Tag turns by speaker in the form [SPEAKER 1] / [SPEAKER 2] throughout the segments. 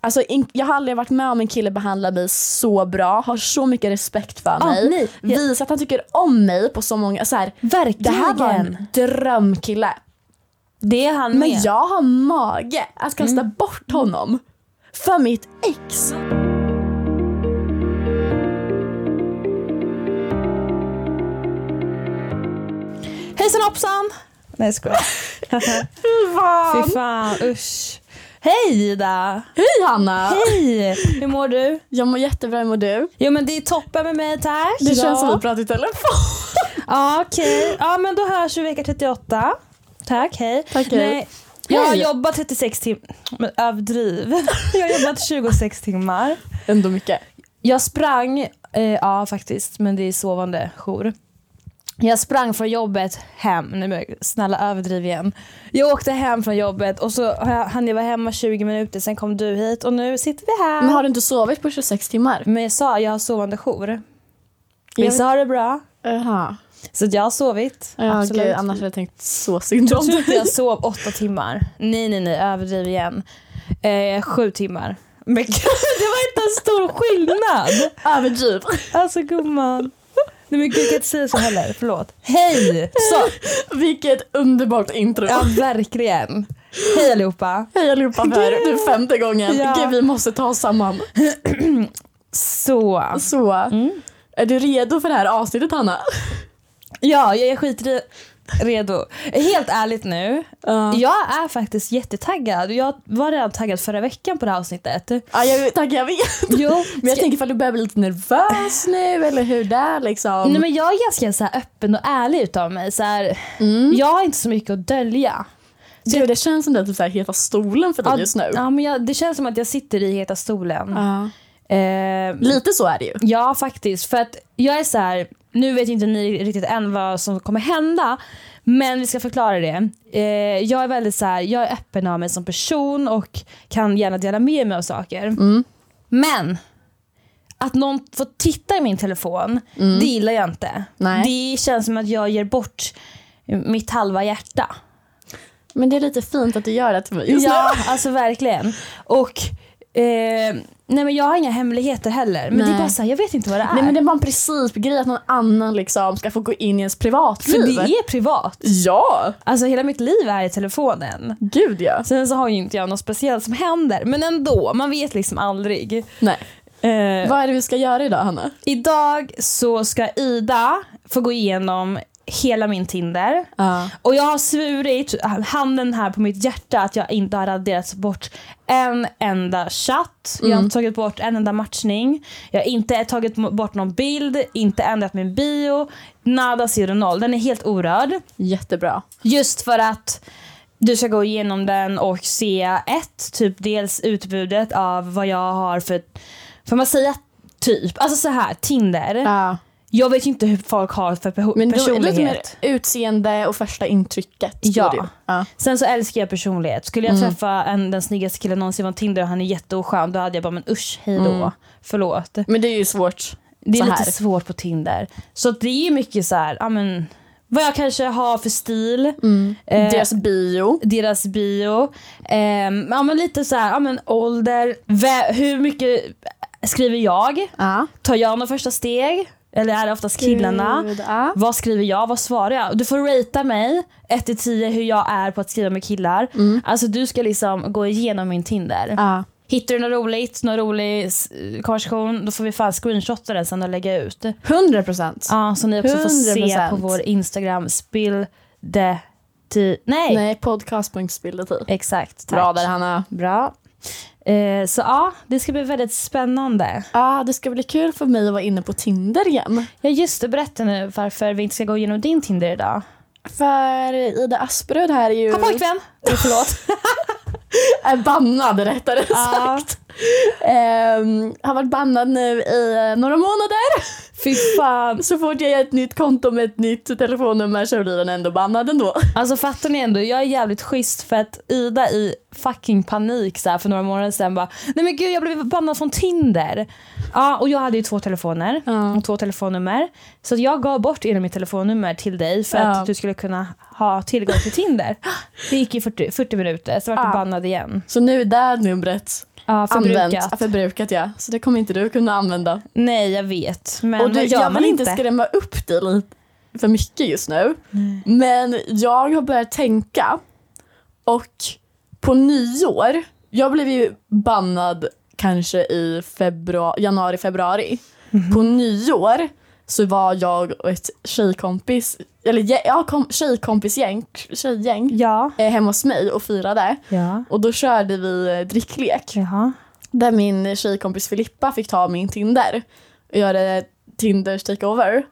[SPEAKER 1] Alltså, in, jag har aldrig varit med om en kille behandlar mig så bra, har så mycket respekt för
[SPEAKER 2] Ja,
[SPEAKER 1] mig.
[SPEAKER 2] Ah, nej. Jag-
[SPEAKER 1] Visar att han tycker om mig på så många... Så här,
[SPEAKER 2] Verkligen.
[SPEAKER 1] det här var en drömkille.
[SPEAKER 2] Det är han
[SPEAKER 1] Men
[SPEAKER 2] med.
[SPEAKER 1] jag har mage att kasta
[SPEAKER 2] Mm.
[SPEAKER 1] bort honom för mitt ex.
[SPEAKER 2] Hejsan hoppsan! Nej jag skojar. Fy fan usch. Hej Ida!
[SPEAKER 1] Hej Hanna!
[SPEAKER 2] Hej! Hur mår du?
[SPEAKER 1] Jag mår jättebra, hur mår du?
[SPEAKER 2] Jo men det är toppen med mig tack.
[SPEAKER 1] Det känns som
[SPEAKER 2] ja.
[SPEAKER 1] vi pratar i telefon.
[SPEAKER 2] Ja okej. Ja men då hörs vi vecka 38. Tack hej.
[SPEAKER 1] Tack, hej.
[SPEAKER 2] Nej, jag har
[SPEAKER 1] Hej.
[SPEAKER 2] jobbat 36 timmar. Men överdriv. Jag har jobbat 26 timmar.
[SPEAKER 1] Ändå mycket.
[SPEAKER 2] Jag sprang, eh, ja faktiskt, men det är sovande jour. Jag sprang från jobbet hem, nej men snälla överdriv igen. Jag åkte hem från jobbet och så har jag- hann jag vara hemma 20 minuter, sen kom du hit och nu sitter vi här.
[SPEAKER 1] Men
[SPEAKER 2] Men,
[SPEAKER 1] har du inte sovit på 26 timmar?
[SPEAKER 2] jag sa, jag har sovande jour.
[SPEAKER 1] Jag
[SPEAKER 2] Vissa har det bra,
[SPEAKER 1] Jaha.
[SPEAKER 2] så att jag har sovit.
[SPEAKER 1] Ja,
[SPEAKER 2] absolut.
[SPEAKER 1] gud, annars hade jag tänkt så synd
[SPEAKER 2] Jag
[SPEAKER 1] om
[SPEAKER 2] tror inte
[SPEAKER 1] dig.
[SPEAKER 2] jag sov åtta timmar. Nej, nej, nej, överdriv igen. Eh, sju timmar. Men gud, det var inte en stor skillnad.
[SPEAKER 1] Överdriv.
[SPEAKER 2] Alltså gumman. Nej men gud, jag kan inte säga så heller. Förlåt. Hej! Så.
[SPEAKER 1] Vilket underbart intro.
[SPEAKER 2] Ja, verkligen. Hej allihopa.
[SPEAKER 1] Hej allihopa, för det är femte gången.
[SPEAKER 2] Ja.
[SPEAKER 1] Gud, vi måste ta oss samman.
[SPEAKER 2] Så.
[SPEAKER 1] Så,
[SPEAKER 2] Mm.
[SPEAKER 1] är du redo för det här avsnittet Hanna?
[SPEAKER 2] Ja, jag är skitredo. Helt ärligt nu.
[SPEAKER 1] Ja.
[SPEAKER 2] Jag är faktiskt jättetaggad. Jag var redan taggad förra veckan på det här avsnittet.
[SPEAKER 1] jag, tack, jag vet.
[SPEAKER 2] Jo,
[SPEAKER 1] Men jag tänker ifall du börjar bli lite nervös nu eller hur det är liksom.
[SPEAKER 2] Nej, men jag är ganska så här öppen och ärlig utav mig. Så här,
[SPEAKER 1] Mm.
[SPEAKER 2] Jag har inte så mycket att dölja.
[SPEAKER 1] Gud, det känns som det är typ så här heta stolen för dig
[SPEAKER 2] Ja,
[SPEAKER 1] just nu.
[SPEAKER 2] Ja, men jag, det känns som att jag sitter i heta stolen.
[SPEAKER 1] Ja.
[SPEAKER 2] Eh,
[SPEAKER 1] Lite så är det ju.
[SPEAKER 2] Ja, faktiskt. För att jag är så här, nu vet inte ni riktigt än vad som kommer hända, men vi ska förklara det. Eh, jag är väldigt så här, jag är öppen av mig som person och kan gärna dela med mig av saker.
[SPEAKER 1] Mm.
[SPEAKER 2] Men att någon får titta i min telefon, det gillar jag inte.
[SPEAKER 1] Mm. Nej.
[SPEAKER 2] Det känns som att jag ger bort mitt halva hjärta.
[SPEAKER 1] Men det är lite fint att du gör det till mig just
[SPEAKER 2] ja, alltså verkligen. Och eh, nej men jag har inga hemligheter heller. Men det är
[SPEAKER 1] Nej.
[SPEAKER 2] bara så här, jag vet inte vad det är.
[SPEAKER 1] nu. Nej men det var en principgrej att någon annan liksom ska få gå in i ens privatliv.
[SPEAKER 2] För det är privat.
[SPEAKER 1] Ja!
[SPEAKER 2] Alltså hela mitt liv är i telefonen.
[SPEAKER 1] Gud ja.
[SPEAKER 2] Sen så har ju inte jag något speciellt som händer. Men ändå, man vet liksom aldrig.
[SPEAKER 1] Nej.
[SPEAKER 2] Eh,
[SPEAKER 1] Vad är det vi ska göra idag Hanna?
[SPEAKER 2] idag så ska Ida få gå igenom hela min Tinder.
[SPEAKER 1] Ja.
[SPEAKER 2] Och jag har svurit, handen här på mitt hjärta, att jag inte har raderat bort en enda chatt. Jag har inte tagit bort en enda matchning. Jag har inte tagit bort någon bild, inte ändrat min bio. Nada, zero, noll. Den är helt orörd.
[SPEAKER 1] Jättebra.
[SPEAKER 2] Just för att du ska gå igenom den och se ett, typ dels utbudet av vad jag har för, får man säga typ, alltså så här Tinder.
[SPEAKER 1] Ja.
[SPEAKER 2] Jag vet ju inte hur folk har för peho-
[SPEAKER 1] Men då är det
[SPEAKER 2] personlighet.
[SPEAKER 1] lite mer utseende och första intrycket. tror
[SPEAKER 2] Ja.
[SPEAKER 1] du. ja.
[SPEAKER 2] Sen så älskar jag personlighet. Skulle
[SPEAKER 1] Mm.
[SPEAKER 2] jag träffa en, den snyggaste killen någonsin på Tinder och han är jätteoskön, då hade jag bara men usch, hej då. Förlåt.
[SPEAKER 1] Men det är ju svårt.
[SPEAKER 2] Det är
[SPEAKER 1] Mm. så
[SPEAKER 2] lite
[SPEAKER 1] här.
[SPEAKER 2] svårt på Tinder. Så att det är ju mycket så här, ja men vad jag kanske har för stil.
[SPEAKER 1] Mm.
[SPEAKER 2] Eh,
[SPEAKER 1] Deras bio.
[SPEAKER 2] deras bio. Ehm, ja, men lite så här, ja, men ålder, vä- hur mycket skriver jag?
[SPEAKER 1] Ja.
[SPEAKER 2] Tar jag några första steg? Eller är det oftast killarna?
[SPEAKER 1] Gud, ja.
[SPEAKER 2] Vad skriver jag? Vad svarar jag? Du får ratea mig 1-10 hur jag är på att skriva med killar.
[SPEAKER 1] Mm.
[SPEAKER 2] Alltså du ska liksom gå igenom min Tinder.
[SPEAKER 1] Ja.
[SPEAKER 2] Hittar du något roligt, någon rolig s- konversation, då får vi fan screenshotta den sen och lägga ut.
[SPEAKER 1] 100 procent.
[SPEAKER 2] Ja, så ni också får se
[SPEAKER 1] 100%.
[SPEAKER 2] på vår Instagram, spill the tea. Nej.
[SPEAKER 1] Nej, podcast.spilletid.
[SPEAKER 2] Exakt, tack.
[SPEAKER 1] Bra där Hanna.
[SPEAKER 2] Bra. Eh, så ja, det ska bli väldigt spännande.
[SPEAKER 1] Ja, det ska bli kul för mig att vara inne på Tinder igen.
[SPEAKER 2] Ja, just det. Berätta nu varför vi inte ska gå igenom din Tinder idag.
[SPEAKER 1] För Ida Asprud här är ju...
[SPEAKER 2] Ha pojkvän! Eh, Förlåt.
[SPEAKER 1] är bannad rättare
[SPEAKER 2] Ja.
[SPEAKER 1] sagt. Ehm, har varit bannad nu i eh, några månader.
[SPEAKER 2] Fy fan.
[SPEAKER 1] Så fort jag gör ett nytt konto med ett nytt telefonnummer så blir den ändå bannad ändå.
[SPEAKER 2] Alltså fattar ni ändå, jag är jävligt schysst för att Ida i fucking panik så här, för några månader sedan bara Nej men gud jag blev bannad från Tinder. Ja och jag hade ju två telefoner
[SPEAKER 1] Ja.
[SPEAKER 2] och två telefonnummer. Så att jag gav bort ena mitt telefonnummer till dig för
[SPEAKER 1] Ja.
[SPEAKER 2] att du skulle kunna ha tillgång till Tinder. Det gick ju 40, 40 minuter, så vart du
[SPEAKER 1] Ja.
[SPEAKER 2] bannad igen.
[SPEAKER 1] Så nu är det där numret
[SPEAKER 2] Ja,
[SPEAKER 1] Använt, förbrukat ja. Så det kommer inte du kunna använda.
[SPEAKER 2] Nej, jag vet. Men
[SPEAKER 1] och du,
[SPEAKER 2] vad gör
[SPEAKER 1] jag
[SPEAKER 2] man
[SPEAKER 1] vill inte
[SPEAKER 2] inte?
[SPEAKER 1] skrämma upp dig lite för mycket just nu. Men jag har börjat tänka och på nyår, jag blev ju bannad kanske i februari, januari, februari. På nyår så var jag och ett tjejkompis, eller gä- ja, kom, tjejkompisgäng, tjejgäng
[SPEAKER 2] Ja.
[SPEAKER 1] eh, hemma hos mig och firade.
[SPEAKER 2] Ja.
[SPEAKER 1] Och då körde vi eh, dricklek
[SPEAKER 2] Jaha.
[SPEAKER 1] där min tjejkompis Filippa fick ta min Tinder och göra Tinders takeover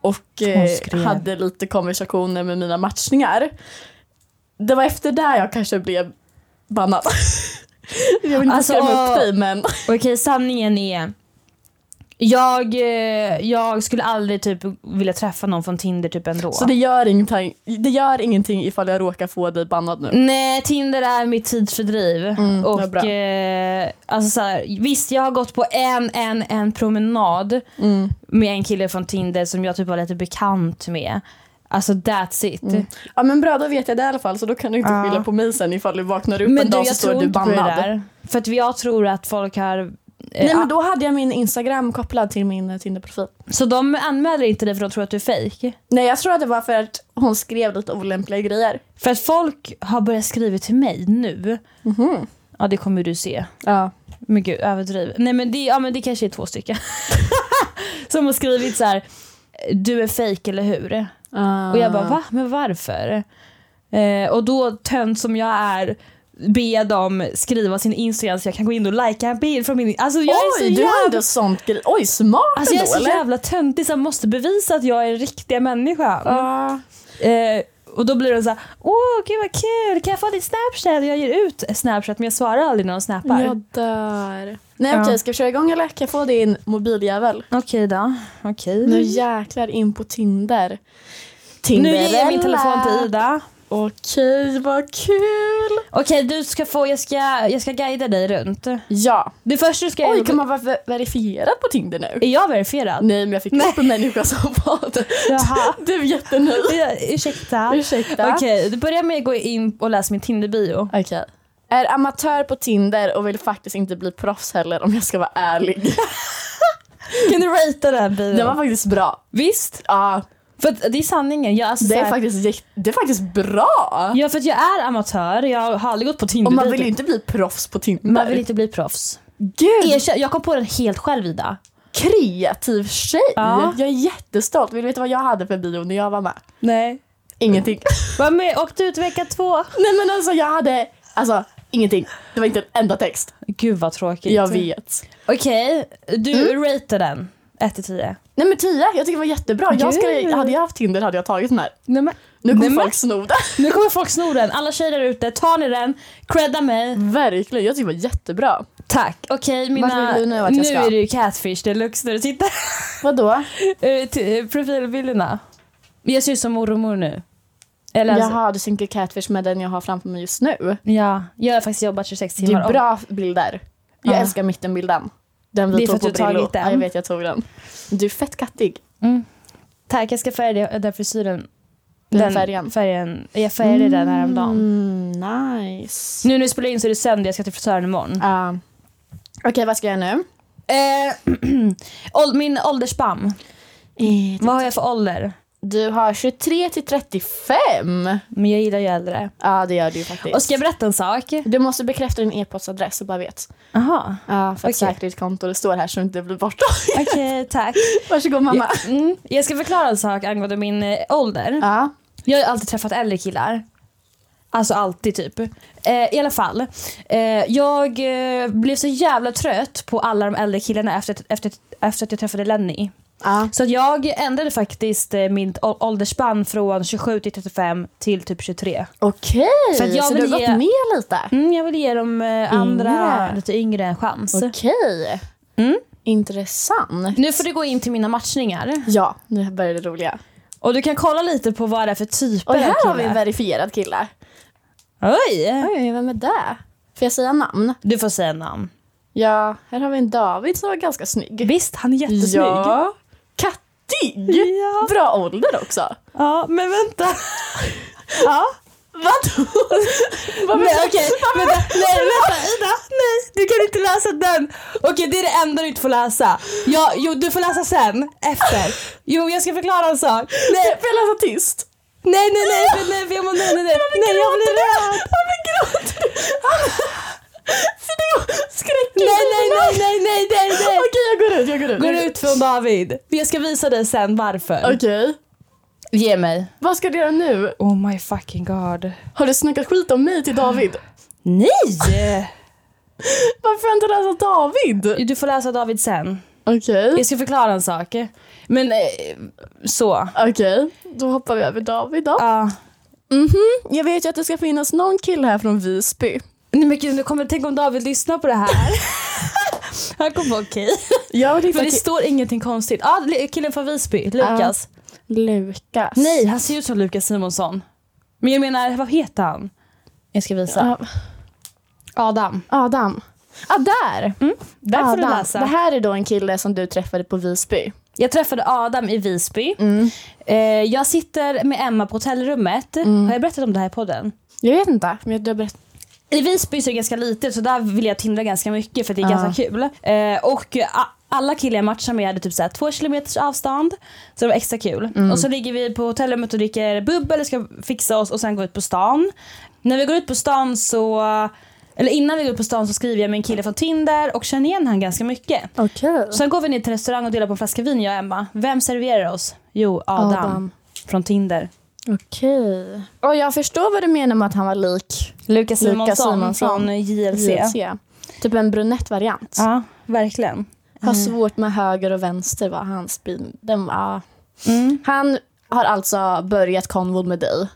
[SPEAKER 1] och
[SPEAKER 2] Hon
[SPEAKER 1] eh,
[SPEAKER 2] skrev.
[SPEAKER 1] hade lite konversationer med mina matchningar. Det var efter det jag kanske blev bannad. Jag vill inte
[SPEAKER 2] Alltså,
[SPEAKER 1] skrämma upp dig men
[SPEAKER 2] Okej, sanningen är... Jag, eh, jag skulle aldrig typ vilja träffa någon från Tinder typ ändå.
[SPEAKER 1] så det gör, ingenting, det gör ingenting ifall jag råkar få dig bannad nu.
[SPEAKER 2] Nej, Tinder är mitt tidsfördriv.
[SPEAKER 1] Mm, vad
[SPEAKER 2] och,
[SPEAKER 1] bra.
[SPEAKER 2] eh, alltså så här, visst, jag har gått på en, en, en promenad
[SPEAKER 1] Mm.
[SPEAKER 2] med en kille från Tinder som jag typ var lite bekant med. Alltså that's it.
[SPEAKER 1] Mm. Ja men bra då vet jag det i alla fall så då kan du inte
[SPEAKER 2] Ja.
[SPEAKER 1] skylla på mig sen ifall du vaknar upp
[SPEAKER 2] Men
[SPEAKER 1] en
[SPEAKER 2] du,
[SPEAKER 1] dag så
[SPEAKER 2] jag
[SPEAKER 1] står
[SPEAKER 2] tror
[SPEAKER 1] du
[SPEAKER 2] inte på det
[SPEAKER 1] bannad.
[SPEAKER 2] där. För att jag tror att folk har... eh,
[SPEAKER 1] Nej
[SPEAKER 2] ah,
[SPEAKER 1] men då hade jag min Instagram kopplad till min eh, Tinder-profil.
[SPEAKER 2] Så de anmäler inte dig för de tror att du är fejk?
[SPEAKER 1] Nej jag tror att det var för att hon skrev lite olämpliga grejer.
[SPEAKER 2] För att folk har börjat skriva till mig nu. Ja, det kommer du se.
[SPEAKER 1] Ja.
[SPEAKER 2] Men gud, överdriv. Nej men det, ja, men det kanske är två stycken. Som har skrivit så här. du är fejk eller hur? Och jag
[SPEAKER 1] Ah.
[SPEAKER 2] bara va? Men varför? Eh, och då tönt som jag är be dem skriva sin Instagram så jag kan gå in och likea en bild från min Alltså jag är så
[SPEAKER 1] Oj, du har
[SPEAKER 2] jävla,
[SPEAKER 1] ändå sånt grej. Oj, smart
[SPEAKER 2] alltså, jag är
[SPEAKER 1] ändå
[SPEAKER 2] så
[SPEAKER 1] eller?
[SPEAKER 2] jävla töntig som måste bevisa att jag är en riktig människa.
[SPEAKER 1] Ja.
[SPEAKER 2] Eh, och då blir det så här, åh gud vad kul, kan jag få ditt snapchat? Jag ger ut snapchat men jag svarar aldrig när de snappar.
[SPEAKER 1] jag dör. Nej
[SPEAKER 2] Ja.
[SPEAKER 1] okej, ska vi köra igång eller? Kan jag få din mobiljävel?
[SPEAKER 2] Okej då, okej.
[SPEAKER 1] Nu jäklar in på Tinder.
[SPEAKER 2] Nu ger jag min telefon till
[SPEAKER 1] Tinderella.
[SPEAKER 2] Ida.
[SPEAKER 1] Okej, vad kul.
[SPEAKER 2] Okej, du ska få, jag ska, jag ska guida dig runt.
[SPEAKER 1] Ja.
[SPEAKER 2] Det första du ska
[SPEAKER 1] Oj, kan man vara ver- verifierad på Tinder nu?
[SPEAKER 2] Är jag verifierad?
[SPEAKER 1] Nej, men jag fick upp en människa som var det.
[SPEAKER 2] Jaha.
[SPEAKER 1] Du är jättenöjd.
[SPEAKER 2] Ja, Ursäkta.
[SPEAKER 1] Mm. Ursäkta.
[SPEAKER 2] Okej, du börjar med att gå in och läsa min Tinder-bio.
[SPEAKER 1] Okej. Är amatör på Tinder och vill faktiskt inte bli proffs heller om jag ska vara ärlig.
[SPEAKER 2] Kan du ratea den här bion?
[SPEAKER 1] Den var faktiskt bra.
[SPEAKER 2] Visst?
[SPEAKER 1] Ja,
[SPEAKER 2] För att det är sanningen. Jag, alltså,
[SPEAKER 1] det,
[SPEAKER 2] så
[SPEAKER 1] är
[SPEAKER 2] här-
[SPEAKER 1] faktiskt, jätt- det är faktiskt bra.
[SPEAKER 2] Ja, för att jag är amatör. Jag har aldrig gått på Tinder.
[SPEAKER 1] Och man vill ju inte bli proffs på Tinder.
[SPEAKER 2] typ- man vill inte bli proffs.
[SPEAKER 1] Gud,
[SPEAKER 2] Erkänn, jag kom på den helt själv Ida.
[SPEAKER 1] kreativ tjej.
[SPEAKER 2] Ja.
[SPEAKER 1] Jag är jättestolt. Vill du veta vad jag hade för bio när jag var med?
[SPEAKER 2] Nej.
[SPEAKER 1] Ingenting.
[SPEAKER 2] Var med, åkte ut vecka två.
[SPEAKER 1] Nej men alltså jag hade, alltså ingenting. Det var inte en enda text.
[SPEAKER 2] Gud vad tråkigt.
[SPEAKER 1] Jag vet. Mm.
[SPEAKER 2] Okej, du ratear den. 1 till 10.
[SPEAKER 1] Nej men 10, jag tycker det var jättebra. Jag
[SPEAKER 2] Gud.
[SPEAKER 1] skulle, hade jag haft Tinder hade jag tagit den här.
[SPEAKER 2] Nej, men,
[SPEAKER 1] Nu kommer
[SPEAKER 2] Nej, men-
[SPEAKER 1] folk sno den.
[SPEAKER 2] nu kommer folk sno den. Alla tjejer där ute, tar ni den? Credda mig.
[SPEAKER 1] Verkligen, jag tycker det var jättebra.
[SPEAKER 2] Tack. Okej, mina...
[SPEAKER 1] vill du nu att jag ska?
[SPEAKER 2] är det ju catfish deluxe när du tittar.
[SPEAKER 1] Vadå?
[SPEAKER 2] Eh, t- eh, Profilbilderna. Jag ser ut som mormor nu. Eller alltså,
[SPEAKER 1] Jaha, du synkar catfish med den jag har framför mig just nu.
[SPEAKER 2] ja, jag har faktiskt jobbat 26
[SPEAKER 1] Det
[SPEAKER 2] timmar.
[SPEAKER 1] är bra bilder. Jag
[SPEAKER 2] Ja.
[SPEAKER 1] älskar mittenbilden. Den vi
[SPEAKER 2] Det är för
[SPEAKER 1] tog
[SPEAKER 2] att
[SPEAKER 1] på
[SPEAKER 2] du har
[SPEAKER 1] Brillo.
[SPEAKER 2] tagit den.
[SPEAKER 1] Ja, jag vet, jag tog den. Du är fett kattig.
[SPEAKER 2] Mm. Tack, jag ska färga det- den frisyren.
[SPEAKER 1] Den färgen.
[SPEAKER 2] färgen. Jag färgade den häromdagen.
[SPEAKER 1] Mm, nice.
[SPEAKER 2] Nu när vi spelar in så är det söndag, jag ska till frisören imorgon.
[SPEAKER 1] Ja. Okej, vad ska jag göra nu?
[SPEAKER 2] Eh, åld- min åldersspann.
[SPEAKER 1] Eh,
[SPEAKER 2] Vad har jag för ålder?
[SPEAKER 1] Du har 23 till 35. Ja,
[SPEAKER 2] Men jag gillar ju äldre.
[SPEAKER 1] det gör du ju faktiskt.
[SPEAKER 2] Och ska jag berätta en sak?
[SPEAKER 1] Du måste bekräfta din e-postadress så bara vet.
[SPEAKER 2] Jaha,
[SPEAKER 1] Ja, för
[SPEAKER 2] Okej.
[SPEAKER 1] att säkerhetskonto det står här så du inte blir borta.
[SPEAKER 2] okej tack.
[SPEAKER 1] Varsågod mamma.
[SPEAKER 2] Jag, mm, jag ska förklara en sak angående min eh, ålder.
[SPEAKER 1] Ja.
[SPEAKER 2] Jag har ju alltid träffat äldre killar. Alltså alltid typ. Eh, I alla fall. Eh, jag eh, blev så jävla trött på alla de äldre killarna efter, efter, efter att jag träffade Lenny.
[SPEAKER 1] Ja.
[SPEAKER 2] Så att jag ändrade faktiskt eh, mitt å- åldersspann från 27 till 35 till typ 23.
[SPEAKER 1] Okej,
[SPEAKER 2] För att jag
[SPEAKER 1] så du
[SPEAKER 2] vill
[SPEAKER 1] har
[SPEAKER 2] ge-
[SPEAKER 1] gått med lite?
[SPEAKER 2] Mm, jag vill ge de eh, andra
[SPEAKER 1] Yngre.
[SPEAKER 2] lite yngre en chans.
[SPEAKER 1] Okej.
[SPEAKER 2] Mm.
[SPEAKER 1] Intressant.
[SPEAKER 2] Nu får du gå in till mina matchningar.
[SPEAKER 1] Ja, nu börjar det roliga.
[SPEAKER 2] Och du kan kolla lite på vad det är för typer
[SPEAKER 1] Och här
[SPEAKER 2] av
[SPEAKER 1] har vi en
[SPEAKER 2] killar.
[SPEAKER 1] verifierad kille.
[SPEAKER 2] Oj!
[SPEAKER 1] Oj, vem är det? Får jag säga namn?
[SPEAKER 2] Du får säga namn.
[SPEAKER 1] Ja, här har vi en David som var ganska snygg.
[SPEAKER 2] Visst, han är jättesnygg.
[SPEAKER 1] Ja. Kattig!
[SPEAKER 2] Ja.
[SPEAKER 1] Bra ålder också.
[SPEAKER 2] Ja, men vänta. ja.
[SPEAKER 1] Vadå?
[SPEAKER 2] Nej okej, vänta, nej vänta Ida, nej du kan inte läsa den. Okej det är det enda du inte får läsa. Ja, jo du får läsa sen, efter. Jo jag ska förklara en sak. Nej,
[SPEAKER 1] Får jag läsa tyst?
[SPEAKER 2] nej, nej, nej, nej, nej, nej, nej, nej, nej, nej jag blir rädd.
[SPEAKER 1] Varför gråter du? För det är skräck i
[SPEAKER 2] Nej, nej,
[SPEAKER 1] mina-
[SPEAKER 2] nej, nej, nej, nej, nej.
[SPEAKER 1] Okej, jag går ut, jag går ut.
[SPEAKER 2] Går ut från David. Jag ska visa dig sen varför.
[SPEAKER 1] Okej.
[SPEAKER 2] Ge mig.
[SPEAKER 1] Vad ska du göra nu?
[SPEAKER 2] Oh my fucking god.
[SPEAKER 1] Har du snackat skit om mig till David?
[SPEAKER 2] Nej!
[SPEAKER 1] Varför har jag inte läst David?
[SPEAKER 2] Du får läsa David sen.
[SPEAKER 1] Okej.
[SPEAKER 2] Jag ska förklara en sak. Men eh, så.
[SPEAKER 1] Okej, då hoppar vi över David då.
[SPEAKER 2] Ja.
[SPEAKER 1] Mhm, jag vet ju att det ska finnas någon kille här från Visby.
[SPEAKER 2] Nej men gud, nu kommer, tänk om David lyssnar på det här. Han kommer vara okej.
[SPEAKER 1] Ja, det är
[SPEAKER 2] För det
[SPEAKER 1] faktiskt
[SPEAKER 2] står ingenting konstigt. Ja, ah, killen från Visby, Lukas.
[SPEAKER 1] Lukas.
[SPEAKER 2] Nej, han ser ut som Lukas Simonsson. Men jag menar, vad heter han? Jag ska visa.
[SPEAKER 1] Ja,
[SPEAKER 2] Adam.
[SPEAKER 1] Adam. Ah, där!
[SPEAKER 2] Där får du
[SPEAKER 1] Adam.
[SPEAKER 2] läsa.
[SPEAKER 1] Det här är då en kille som du träffade på Visby. Mm.
[SPEAKER 2] Jag träffade Adam i Visby. Eh, jag sitter med Emma på hotellrummet. Har jag berättat om det här i podden?
[SPEAKER 1] Jag vet inte, men jag har berättat.
[SPEAKER 2] I Visby så är det ganska litet så där vill jag tindra ganska mycket för det är
[SPEAKER 1] Ja.
[SPEAKER 2] ganska kul. Eh, och a- alla killar jag matchade med hade typ såhär två kilometers avstånd. Så det var extra kul.
[SPEAKER 1] Mm.
[SPEAKER 2] Och så ligger vi på hotellrummet och dricker bubbel och ska fixa oss och sen gå ut på stan. När vi går ut på stan så, eller innan vi går ut på stan så skriver jag med en kille från Tinder och känner igen han ganska mycket.
[SPEAKER 1] Okej.
[SPEAKER 2] Sen går vi ner till restaurang och delar på en flaska vin jag och Emma. Vem serverar oss? Jo, Adam.
[SPEAKER 1] Adam.
[SPEAKER 2] Från Tinder.
[SPEAKER 1] Okej. Och jag förstår vad du menar med att han var lik Lukas
[SPEAKER 2] Lukas Simonsson,
[SPEAKER 1] Simonsson.
[SPEAKER 2] från JLC.
[SPEAKER 1] JLC. Typ en brunett variant.
[SPEAKER 2] Ja, Mm. verkligen.
[SPEAKER 1] Har svårt med höger och vänster var hans bild. Den var...
[SPEAKER 2] Mm.
[SPEAKER 1] Han har alltså börjat konvon med dig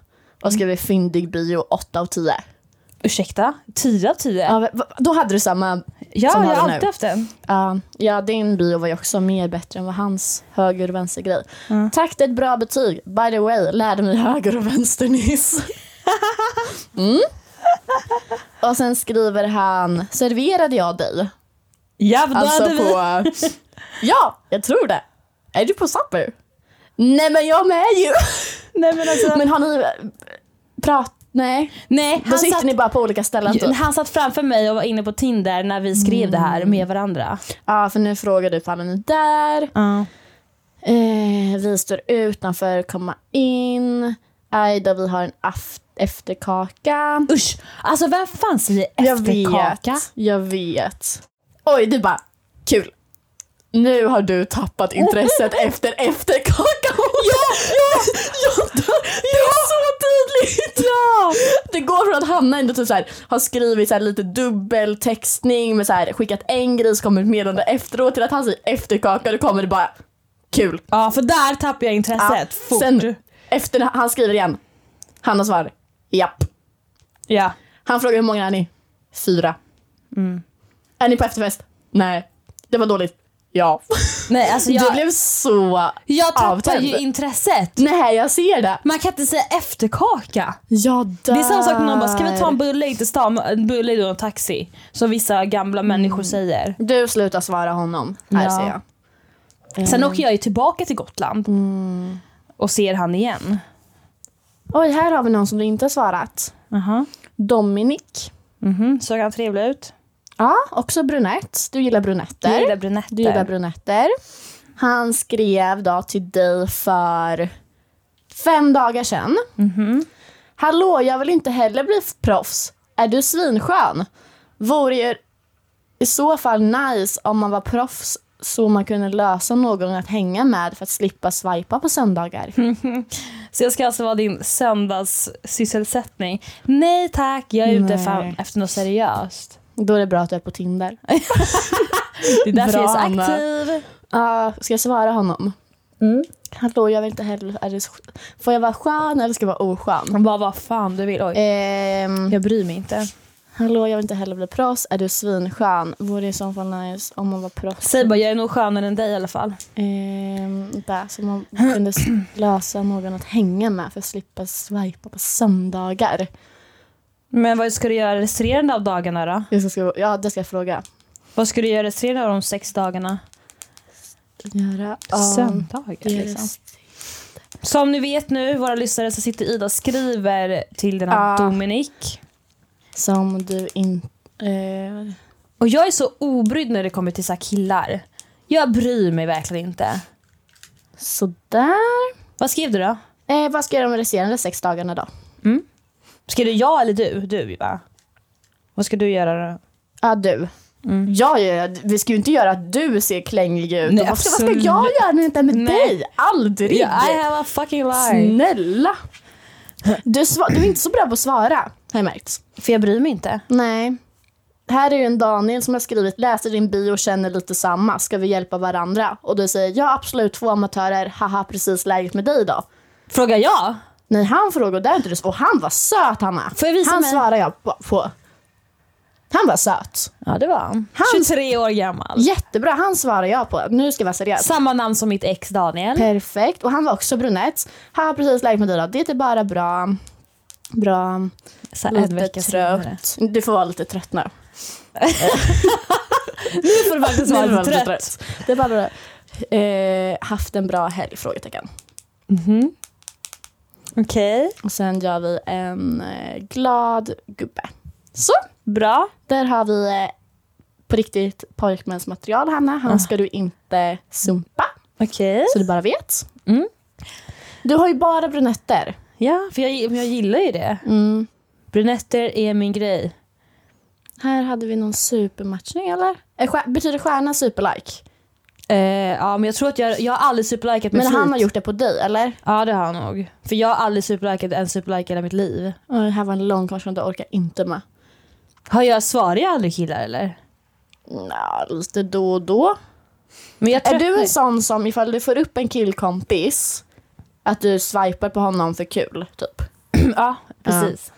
[SPEAKER 1] och skrivit fyndig bio 8 av 10.
[SPEAKER 2] Ursäkta? 10 av 10? Ja,
[SPEAKER 1] Ja, va- va- då hade du samma.
[SPEAKER 2] jag
[SPEAKER 1] som
[SPEAKER 2] har
[SPEAKER 1] har den
[SPEAKER 2] alltid
[SPEAKER 1] nu.
[SPEAKER 2] haft den.
[SPEAKER 1] Ja, ja, din bio var ju också mer bättre än vad hans höger och vänster grej. Tack, det är ett bra betyg. By the way, lärde mig höger och vänster nyss. Mm. Och sen skriver han, serverade jag dig?
[SPEAKER 2] Ja, då
[SPEAKER 1] Alltså
[SPEAKER 2] hade vi...
[SPEAKER 1] på... Ja, jag tror det. Är du på Supper? Nej men jag med ju.
[SPEAKER 2] Nej, men alltså...
[SPEAKER 1] Men har ni prat... Nej.
[SPEAKER 2] Nej,
[SPEAKER 1] Då
[SPEAKER 2] han
[SPEAKER 1] sitter
[SPEAKER 2] satt...
[SPEAKER 1] ni bara på olika ställen typ.
[SPEAKER 2] Han satt framför mig och var inne på Tinder när vi skrev det här
[SPEAKER 1] Mm.
[SPEAKER 2] med varandra.
[SPEAKER 1] Ja, för nu frågar du ifall han är där. Eh, vi står utanför, komma in. Aj då, vi har en aft- efterkaka.
[SPEAKER 2] Usch! Alltså vem fan säger
[SPEAKER 1] Jag
[SPEAKER 2] efterkaka?
[SPEAKER 1] vet, jag vet. Oj, du bara, kul. Nu har du tappat intresset efter efterkakan. oh, Ja, ja, ja, det är så tydligt. Ja. Det går från att Hanna ändå typ så här, har skrivit så här lite dubbeltextning med så här, skickat en grej så kommer ett meddelande efteråt till att han säger efterkaka och då kommer det bara kul.
[SPEAKER 2] Ja, för där tappar jag
[SPEAKER 1] Ja.
[SPEAKER 2] intresset fort.
[SPEAKER 1] Sen efter när han skriver igen, Hanna svarar japp.
[SPEAKER 2] Ja.
[SPEAKER 1] Han frågar hur många är ni? Fyra.
[SPEAKER 2] Mm.
[SPEAKER 1] Är ni på efterfest? Nej. Det var dåligt. Ja.
[SPEAKER 2] Nej, alltså
[SPEAKER 1] Du
[SPEAKER 2] jag,
[SPEAKER 1] blev så...
[SPEAKER 2] jag tappar
[SPEAKER 1] avtänd.
[SPEAKER 2] ju intresset.
[SPEAKER 1] Nej, jag ser det.
[SPEAKER 2] Man kan inte säga efterkaka.
[SPEAKER 1] Jag dör.
[SPEAKER 2] Det är samma sak när någon bara, ska vi ta en bulle hit till stan? En bulle är då en taxi. Som vissa gamla
[SPEAKER 1] Mm.
[SPEAKER 2] människor säger.
[SPEAKER 1] Du slutar svara honom. Här
[SPEAKER 2] Ja. Eh.
[SPEAKER 1] ser jag.
[SPEAKER 2] Sen åker jag ju tillbaka till Gotland.
[SPEAKER 1] Mm.
[SPEAKER 2] Och ser han igen.
[SPEAKER 1] Oj, här har vi någon som du inte har svarat.
[SPEAKER 2] Aha.
[SPEAKER 1] Dominic.
[SPEAKER 2] Mhm. Såg han trevlig ut?
[SPEAKER 1] Ja, också brunett. Du gillar brunetter.
[SPEAKER 2] Jag gillar brunetter.
[SPEAKER 1] Du gillar brunetter. Han skrev då till dig för fem dagar sedan. Hallå, jag vill inte heller bli proffs. Är du svinskön? Vore ju i så fall nice om man var proffs så man kunde lösa någon att hänga med för att slippa swipa på söndagar.
[SPEAKER 2] Så jag ska alltså vara din söndagssysselsättning. Nej tack, jag är ute
[SPEAKER 1] Nej.
[SPEAKER 2] fan efter något seriöst.
[SPEAKER 1] Då är det bra att du är på Tinder.
[SPEAKER 2] Det är därför
[SPEAKER 1] Bra,
[SPEAKER 2] jag är så
[SPEAKER 1] Anna.
[SPEAKER 2] aktiv.
[SPEAKER 1] Ja, ska jag svara honom? Mm. Hallå, jag vill inte heller... Är det, får jag vara skön eller ska jag vara oskön?
[SPEAKER 2] Han bara, vad fan du vill. Oj.
[SPEAKER 1] Ehm,
[SPEAKER 2] Jag bryr mig inte.
[SPEAKER 1] Hallå, jag vill inte heller bli proffs. Är du svinskön? Vore i så fall nice om man var proffs.
[SPEAKER 2] Säg bara, jag är nog skönare än dig i alla fall.
[SPEAKER 1] Ehm, där, så man kunde s- lösa någon att hänga med för att slippa swipa på söndagar.
[SPEAKER 2] Men vad ska du göra resterande av dagarna då?
[SPEAKER 1] Jag ska, skriva- ja, det ska jag fråga.
[SPEAKER 2] Vad ska du göra resterande av de sex dagarna?
[SPEAKER 1] Göra av
[SPEAKER 2] Söndagar
[SPEAKER 1] det
[SPEAKER 2] liksom.
[SPEAKER 1] rest-
[SPEAKER 2] Som ni vet nu, våra lyssnare, så sitter Ida och skriver till den här
[SPEAKER 1] Ah.
[SPEAKER 2] Dominik.
[SPEAKER 1] Som du inte... Eh,
[SPEAKER 2] Och jag är så obrydd när det kommer till så här killar. Jag bryr mig verkligen inte.
[SPEAKER 1] sådär.
[SPEAKER 2] Vad skrev du då?
[SPEAKER 1] Eh, vad ska jag göra med resterande sex dagarna då?
[SPEAKER 2] Skrev du ja eller du? Du va? Vad ska du göra då?
[SPEAKER 1] Ja, du.
[SPEAKER 2] Mm.
[SPEAKER 1] Ja, ja, ja, vi ska ju inte göra att du ser klängig ut.
[SPEAKER 2] Nej,
[SPEAKER 1] Nej, vad, ska, vad ska jag
[SPEAKER 2] absolut.
[SPEAKER 1] göra när det inte är med
[SPEAKER 2] Nej.
[SPEAKER 1] dig? Aldrig!
[SPEAKER 2] Yeah, I have a fucking lie.
[SPEAKER 1] Snälla! Du, sva- du är inte så bra på att svara, har jag märkt.
[SPEAKER 2] För jag bryr mig inte.
[SPEAKER 1] Nej. Här är ju en Daniel som har skrivit läser din bio och känner lite samma. Ska vi hjälpa varandra? Och du säger ja absolut två amatörer. Haha precis läget med dig då.
[SPEAKER 2] Fråga jag?
[SPEAKER 1] Nej han frågade där inte du och han var söt Hanna.
[SPEAKER 2] Får jag visa
[SPEAKER 1] han
[SPEAKER 2] mig?
[SPEAKER 1] svarar jag på, på. Han var söt.
[SPEAKER 2] Ja det var han.
[SPEAKER 1] Han-
[SPEAKER 2] 23 år gammal.
[SPEAKER 1] Jättebra han svarar jag på. Nu ska jag vara seriös.
[SPEAKER 2] Samma namn som mitt ex Daniel.
[SPEAKER 1] Perfekt. Och han var också brunett. Haha precis läget med dig då. Det är bara bra. Bra.
[SPEAKER 2] Så här en
[SPEAKER 1] Lite
[SPEAKER 2] vecka senare.
[SPEAKER 1] trött. Du får vara lite trött nu.
[SPEAKER 2] Nu får du faktiskt vara
[SPEAKER 1] Nu var
[SPEAKER 2] lite
[SPEAKER 1] jag
[SPEAKER 2] trött.
[SPEAKER 1] lite trött. Det är bara eh, haft en bra helg? Frågetecken.
[SPEAKER 2] Mhm. Okej,
[SPEAKER 1] Och sen gör vi en eh, glad gubbe. Så,
[SPEAKER 2] bra.
[SPEAKER 1] där har vi eh, på riktigt pojkmansmaterial Hanna. Han ska du inte sumpa,
[SPEAKER 2] Okej.
[SPEAKER 1] så du bara vet.
[SPEAKER 2] Mm.
[SPEAKER 1] Du har ju bara brunetter.
[SPEAKER 2] Ja, för jag, jag gillar ju det.
[SPEAKER 1] Mm.
[SPEAKER 2] Brunetter är min grej.
[SPEAKER 1] Här hade vi någon supermatchning eller? Eh, stjär- betyder stjärna superlike?
[SPEAKER 2] Eh, ja, men jag tror att jag, jag har aldrig superlikat med
[SPEAKER 1] Men han
[SPEAKER 2] flit.
[SPEAKER 1] har gjort det på dig eller?
[SPEAKER 2] Ja, det har han nog. För jag har aldrig superlikat en superlike i hela mitt liv.
[SPEAKER 1] Åh, det här var en lång konversation, det orkar jag inte med.
[SPEAKER 2] Har jag svarat jag aldrig killar eller?
[SPEAKER 1] Nja, lite då och då.
[SPEAKER 2] Men jag
[SPEAKER 1] Är du
[SPEAKER 2] tröttnar-
[SPEAKER 1] en sån som ifall du får upp en killkompis att du swipar på honom för kul? Typ.
[SPEAKER 2] ja, precis.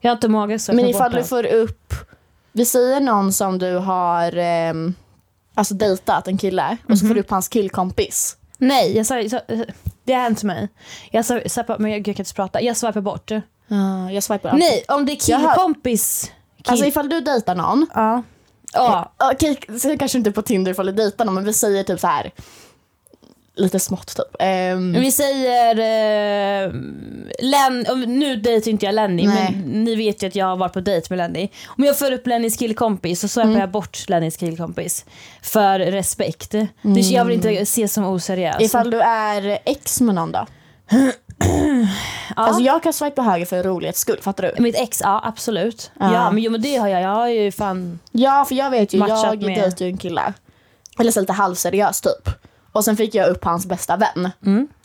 [SPEAKER 2] Jag har inte mage så jag
[SPEAKER 1] Men
[SPEAKER 2] tar
[SPEAKER 1] ifall
[SPEAKER 2] bort
[SPEAKER 1] du
[SPEAKER 2] den.
[SPEAKER 1] får upp, vi säger någon som du har ehm, alltså dejtat, en kille, och så får du upp hans killkompis.
[SPEAKER 2] Nej, jag sa, så, det har hänt mig. Jag sa, sa, men jag, jag kan inte prata. Jag swipar bort.
[SPEAKER 1] Ja, jag swipar alltid.
[SPEAKER 2] Nej, om det är
[SPEAKER 1] Jag har-
[SPEAKER 2] killkompis. Kill...
[SPEAKER 1] Alltså ifall du dejtar någon,
[SPEAKER 2] ja. Ja,
[SPEAKER 1] okej så kanske inte på Tinder ifall du dejtar någon men vi säger typ så här lite smått typ. Ehm,
[SPEAKER 2] vi säger... Eh, Len, om- nu dejtar inte jag Lenny,
[SPEAKER 1] Nej.
[SPEAKER 2] men ni vet ju att jag har varit på dejt med Lenny. Om jag får upp Lennys killkompis så
[SPEAKER 1] Mm.
[SPEAKER 2] swipar jag bort Lennys killkompis. För respekt. Det- Jag vill inte ses som oseriös.
[SPEAKER 1] Mm. ifall du är ex med någon då?
[SPEAKER 2] ja.
[SPEAKER 1] Alltså jag kan swipa höger för rolighets skull, fattar du?
[SPEAKER 2] Mitt ex, ja absolut. Ja,
[SPEAKER 1] Ja.
[SPEAKER 2] men, jo, men det har jag. Jag har ju fan...
[SPEAKER 1] Ja, för jag vet ju,
[SPEAKER 2] Matchat
[SPEAKER 1] jag
[SPEAKER 2] med-
[SPEAKER 1] dejtade ju en kille. Eller så lite halvseriös typ. Och sen fick jag upp hans bästa vän.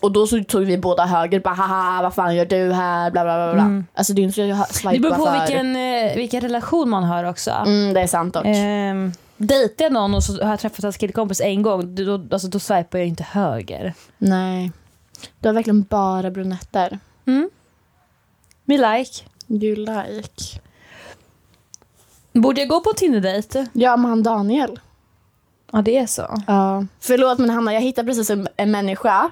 [SPEAKER 1] Och då så tog vi båda höger, bara haha vad fan gör du här, bla bla bla. bla. Alltså det är inte så jag swipar
[SPEAKER 2] Mm. Det beror på
[SPEAKER 1] för...
[SPEAKER 2] vilken, eh, vilken relation man har också.
[SPEAKER 1] Mm, det är sant dock.
[SPEAKER 2] Ehm, dejtar jag någon och så har jag träffat hans killkompis en gång, då, alltså, då swipar jag inte höger.
[SPEAKER 1] Nej. Du har verkligen bara brunetter.
[SPEAKER 2] Me like.
[SPEAKER 1] You like.
[SPEAKER 2] Borde jag gå på Tinder-dejt?
[SPEAKER 1] Ja, men han Daniel.
[SPEAKER 2] Ja, det är så.
[SPEAKER 1] Ja. Förlåt men Hanna, jag hittade precis en, en människa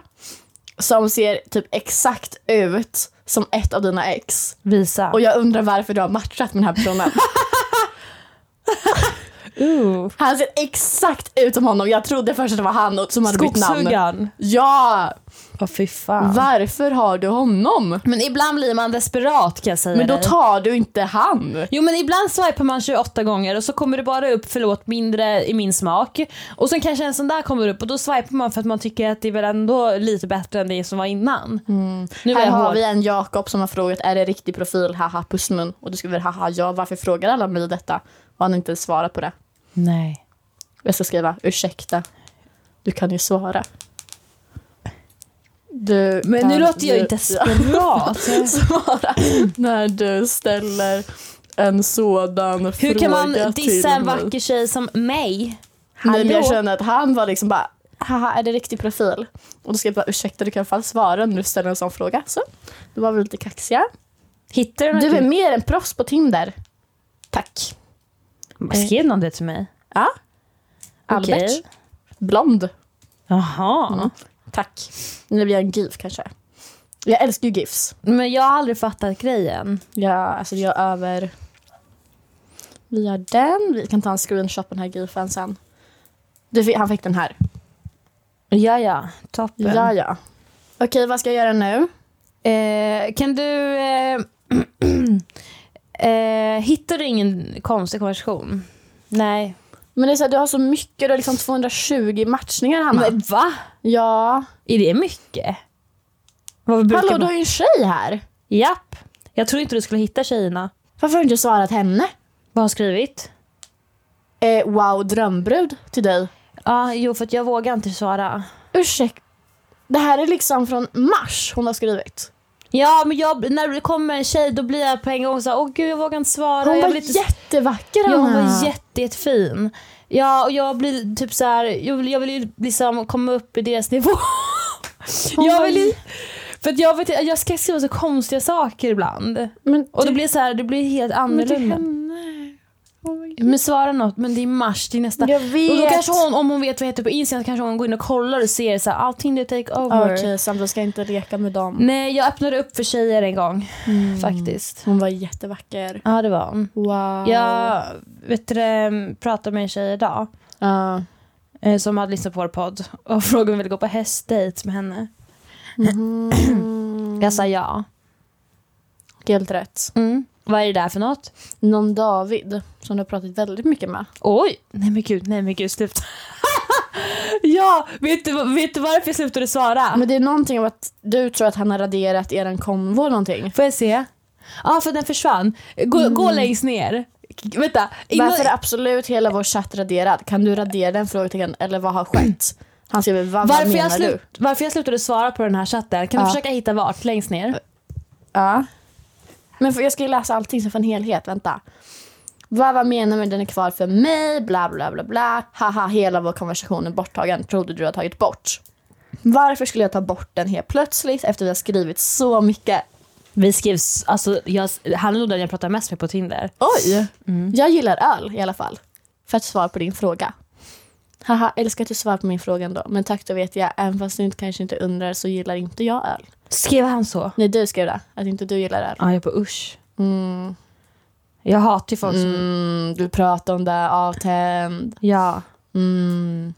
[SPEAKER 1] som ser typ exakt ut som ett av dina ex.
[SPEAKER 2] Visa.
[SPEAKER 1] Och jag undrar varför du har matchat med den här personen.
[SPEAKER 2] Ooh.
[SPEAKER 1] Han ser exakt ut som honom. Jag trodde först att det var han och- som hade bytt namn.
[SPEAKER 2] Skogshuggaren.
[SPEAKER 1] Ja,
[SPEAKER 2] Åh fy fan.
[SPEAKER 1] varför har du honom?
[SPEAKER 2] Men ibland blir man desperat kan jag säga
[SPEAKER 1] Men då
[SPEAKER 2] dig.
[SPEAKER 1] tar du inte han.
[SPEAKER 2] Jo men ibland swipar man 28 gånger och så kommer det bara upp förlåt mindre i min smak. Och sen kanske en sån där kommer upp och då swipar man för att man tycker att det är väl ändå lite bättre än det som var innan. Nu var
[SPEAKER 1] Här
[SPEAKER 2] jag
[SPEAKER 1] har
[SPEAKER 2] hård.
[SPEAKER 1] vi en Jakob som har frågat är det riktig profil? Haha pussmun. Och du skriver haha ja varför frågar alla mig detta? Och han har inte svarat på det.
[SPEAKER 2] Nej.
[SPEAKER 1] Jag ska skriva ursäkta. Du kan ju svara. Du
[SPEAKER 2] Men nu
[SPEAKER 1] kan
[SPEAKER 2] låter jag
[SPEAKER 1] ju-
[SPEAKER 2] ju desperat.
[SPEAKER 1] svara när du ställer en sådan fråga
[SPEAKER 2] Hur kan man
[SPEAKER 1] till
[SPEAKER 2] dissa en
[SPEAKER 1] mig?
[SPEAKER 2] vacker tjej som mig?
[SPEAKER 1] Nej, men jag
[SPEAKER 2] Hallå?
[SPEAKER 1] känner att han var liksom bara Haha, är det riktig profil? Och då ska jag bara ursäkta, du kan i alla fall svara när du ställer en sån fråga. Så, då var vi lite kaxiga.
[SPEAKER 2] Hittar du någon?
[SPEAKER 1] Du är mer än proffs på Tinder. Tack.
[SPEAKER 2] Skrev någon det till mig?
[SPEAKER 1] Ja.
[SPEAKER 2] Okej.
[SPEAKER 1] Albert. Blond.
[SPEAKER 2] Jaha.
[SPEAKER 1] Tack. Nu blir jag en GIF kanske. Jag älskar ju GIFs.
[SPEAKER 2] Men jag har aldrig fattat grejen.
[SPEAKER 1] Ja, alltså jag är över... Vi har den. Vi kan ta en screenshot på den här GIFen sen. Du, fick- han fick den här.
[SPEAKER 2] Ja, ja. Toppen.
[SPEAKER 1] Ja, ja. Okej, vad ska jag göra nu?
[SPEAKER 2] Eh, kan du... Eh, eh, hittar du ingen konstig konversation? Nej.
[SPEAKER 1] Men det är så här, du har så mycket, du har liksom 220 matchningar Hanna.
[SPEAKER 2] Men va?
[SPEAKER 1] Ja.
[SPEAKER 2] Är det mycket? Vad brukar
[SPEAKER 1] Hallå, du
[SPEAKER 2] man-
[SPEAKER 1] har ju en tjej här.
[SPEAKER 2] Japp. Jag tror inte du skulle hitta tjejerna.
[SPEAKER 1] Varför har du inte svarat henne?
[SPEAKER 2] Vad har hon skrivit?
[SPEAKER 1] Eh, wow, drömbrud till dig.
[SPEAKER 2] Ja, jo för att jag vågar inte svara.
[SPEAKER 1] Ursäkta. Det här är liksom från mars hon har skrivit.
[SPEAKER 2] Ja, men jag, när det kommer en tjej då blir jag på en gång så här, åh gud jag vågar inte svara.
[SPEAKER 1] Hon
[SPEAKER 2] jag
[SPEAKER 1] var
[SPEAKER 2] vill inte
[SPEAKER 1] jättevacker
[SPEAKER 2] Ja, hon
[SPEAKER 1] Hanna.
[SPEAKER 2] var jätte, jättefin. Ja, och jag blir typ så här, jag vill, jag vill ju liksom komma upp i deras nivå.
[SPEAKER 1] Hon
[SPEAKER 2] jag
[SPEAKER 1] var
[SPEAKER 2] vill ju,
[SPEAKER 1] j-
[SPEAKER 2] Oh för att jag, vet, jag ska skriva så konstiga saker ibland.
[SPEAKER 1] Men
[SPEAKER 2] Och det
[SPEAKER 1] du-
[SPEAKER 2] blir så här, det blir helt
[SPEAKER 1] men till
[SPEAKER 2] annorlunda.
[SPEAKER 1] henne. Hon var
[SPEAKER 2] Men svara något, men det är mars, det är nästa.
[SPEAKER 1] Jag vet.
[SPEAKER 2] Och då kanske hon, om hon vet vad jag heter på Instagram, kanske hon går in och kollar och ser så här, allting du take
[SPEAKER 1] Ah,
[SPEAKER 2] over.
[SPEAKER 1] Okej, Sandra ska inte leka med dem.
[SPEAKER 2] Nej, jag öppnade upp för tjejer en gång Mm. faktiskt.
[SPEAKER 1] Mm. Hon var jättevacker.
[SPEAKER 2] Ja, det var hon.
[SPEAKER 1] Wow.
[SPEAKER 2] Jag vet du, det, pratade med en tjej idag.
[SPEAKER 1] Ja.
[SPEAKER 2] eh, som hade lyssnat på vår podd och frågade om jag ville gå på hästdejt med henne.
[SPEAKER 1] Mhm.
[SPEAKER 2] Mm. Jag sa ja.
[SPEAKER 1] Helt rätt.
[SPEAKER 2] Mm. Vad är det där för något?
[SPEAKER 1] Någon David som du har pratat väldigt mycket med.
[SPEAKER 2] Oj! Nej men gud, nej men gud, sluta. ja, vet du, vad- vet du varför jag slutade svara?
[SPEAKER 1] Men det är någonting om att du tror att han har raderat er konvo eller någonting.
[SPEAKER 2] Får jag se? Mm. Ja, för den försvann. Gå, gå längst ner. K- Vänta. Innan,
[SPEAKER 1] Varför är absolut hela vår chatt raderad? Kan du radera den frågetecken eller vad har skett? Han skriver vad, vad
[SPEAKER 2] varför, jag
[SPEAKER 1] menar du?
[SPEAKER 2] slut, varför jag slutade svara på den här chatten? Kan du
[SPEAKER 1] Ja.
[SPEAKER 2] försöka hitta vart? Längst ner?
[SPEAKER 1] Ja. Men för, jag ska ju läsa allting så för en helhet, vänta. Vad, vad menar med den är kvar för mig? Bla bla bla bla. Haha, hela vår konversation är borttagen. Trodde du har tagit bort. Varför skulle jag ta bort den helt plötsligt efter vi har skrivit så mycket?
[SPEAKER 2] Vi skrivs, alltså jag, han är nog den jag pratar mest med på Tinder.
[SPEAKER 1] Oj!
[SPEAKER 2] Mm.
[SPEAKER 1] Jag gillar öl i alla fall. För att svara på din fråga. Haha, älskar att du svarar på min fråga ändå. Men tack, då vet jag. Även fast du inte, kanske inte undrar så gillar inte jag öl.
[SPEAKER 2] Skrev han så?
[SPEAKER 1] Nej, du skrev det. Att inte du gillar öl.
[SPEAKER 2] Ja, jag är på usch.
[SPEAKER 1] Mm.
[SPEAKER 2] Jag hatar ju folk som...
[SPEAKER 1] Mm, du pratar om det, avtänd.
[SPEAKER 2] Ja.
[SPEAKER 1] Mm.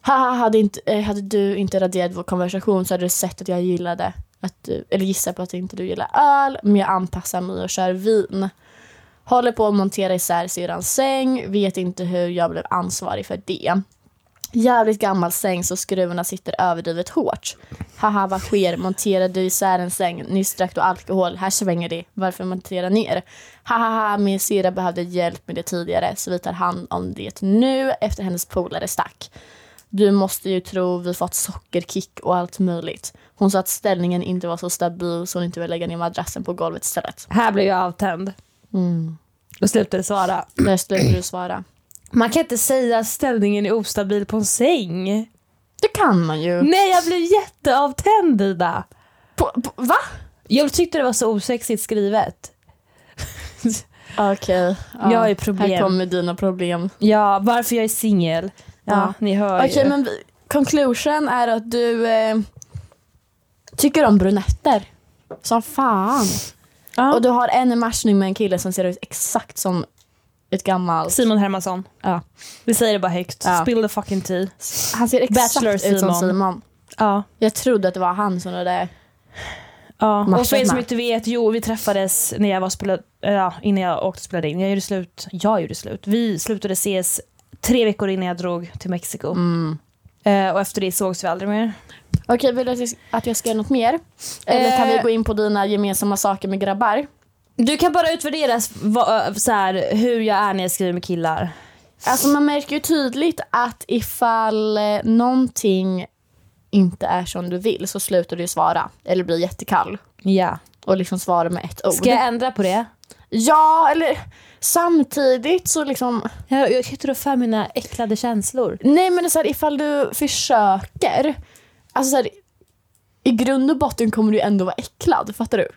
[SPEAKER 1] Haha, hade, inte, eh, hade du inte raderat vår konversation så hade du sett att jag gillade att du, eller gissar på att inte du gillar öl, men jag anpassar mig och kör vin. Håller på att montera isär syrrans säng, vet inte hur jag blev ansvarig för det. Jävligt gammal säng så skruvarna sitter överdrivet hårt. Haha, vad sker? Monterar du isär en säng? Nyss drack du alkohol. Här svänger det. Varför montera ner? Hahaha, min syrra behövde hjälp med det tidigare så vi tar hand om det nu efter hennes polare stack. Du måste ju tro vi fått sockerkick och allt möjligt. Hon sa att ställningen inte var så stabil så hon inte ville lägga ner madrassen på golvet istället.
[SPEAKER 2] Här blev jag avtänd
[SPEAKER 1] Mm.
[SPEAKER 2] och slutade svara.
[SPEAKER 1] Där slutade du svara.
[SPEAKER 2] Man kan inte säga att ställningen är ostabil på en säng.
[SPEAKER 1] Det kan man ju.
[SPEAKER 2] Nej, jag blev jätteavtänd Ida.
[SPEAKER 1] Mm. På, på, va?
[SPEAKER 2] Jag tyckte det var så osexigt skrivet.
[SPEAKER 1] Okej.
[SPEAKER 2] Jag har ju problem.
[SPEAKER 1] Här kommer dina problem.
[SPEAKER 2] Ja, varför jag är singel. Ja,
[SPEAKER 1] Ja.
[SPEAKER 2] ni hör
[SPEAKER 1] Okej,
[SPEAKER 2] ju.
[SPEAKER 1] men vi- conclusion är att du eh, tycker om brunetter. Som fan.
[SPEAKER 2] Ja.
[SPEAKER 1] Och du har en matchning med en kille som ser ut exakt som ett gammalt...
[SPEAKER 2] Simon Hermansson.
[SPEAKER 1] Ja.
[SPEAKER 2] Vi säger det bara högt.
[SPEAKER 1] Ja.
[SPEAKER 2] Spill the fucking tea.
[SPEAKER 1] Han ser exakt
[SPEAKER 2] Bachelor
[SPEAKER 1] ut som
[SPEAKER 2] Simon.
[SPEAKER 1] Simon.
[SPEAKER 2] Ja.
[SPEAKER 1] Jag trodde att det var han som var det.
[SPEAKER 2] ja. Och för er
[SPEAKER 1] Matcherna.
[SPEAKER 2] som inte vet, jo vi träffades när jag var spelad, ja, innan jag åkte och spelade in. Jag gjorde slut, jag gjorde slut. Vi slutade ses tre veckor innan jag drog till Mexiko.
[SPEAKER 1] Mm.
[SPEAKER 2] Eh, och efter det sågs vi aldrig mer.
[SPEAKER 1] Okej, vill du att jag s- att jag ska göra något mer? Eller kan
[SPEAKER 2] Eh.
[SPEAKER 1] vi gå in på dina gemensamma saker med grabbar?
[SPEAKER 2] Du kan bara utvärdera s- vad, ö, så här, hur jag är när jag skriver med killar.
[SPEAKER 1] Alltså man märker ju tydligt att ifall eh, någonting inte är som du vill så slutar du ju svara. Eller blir jättekall.
[SPEAKER 2] Ja.
[SPEAKER 1] Och liksom svara med ett ord.
[SPEAKER 2] Ska jag ändra på det?
[SPEAKER 1] Ja, eller samtidigt så liksom...
[SPEAKER 2] Jag, jag sitter och för mina äcklade känslor.
[SPEAKER 1] Nej men det är så här, ifall du försöker. Alltså så här, i grund och botten kommer du ju ändå vara äcklad, fattar du?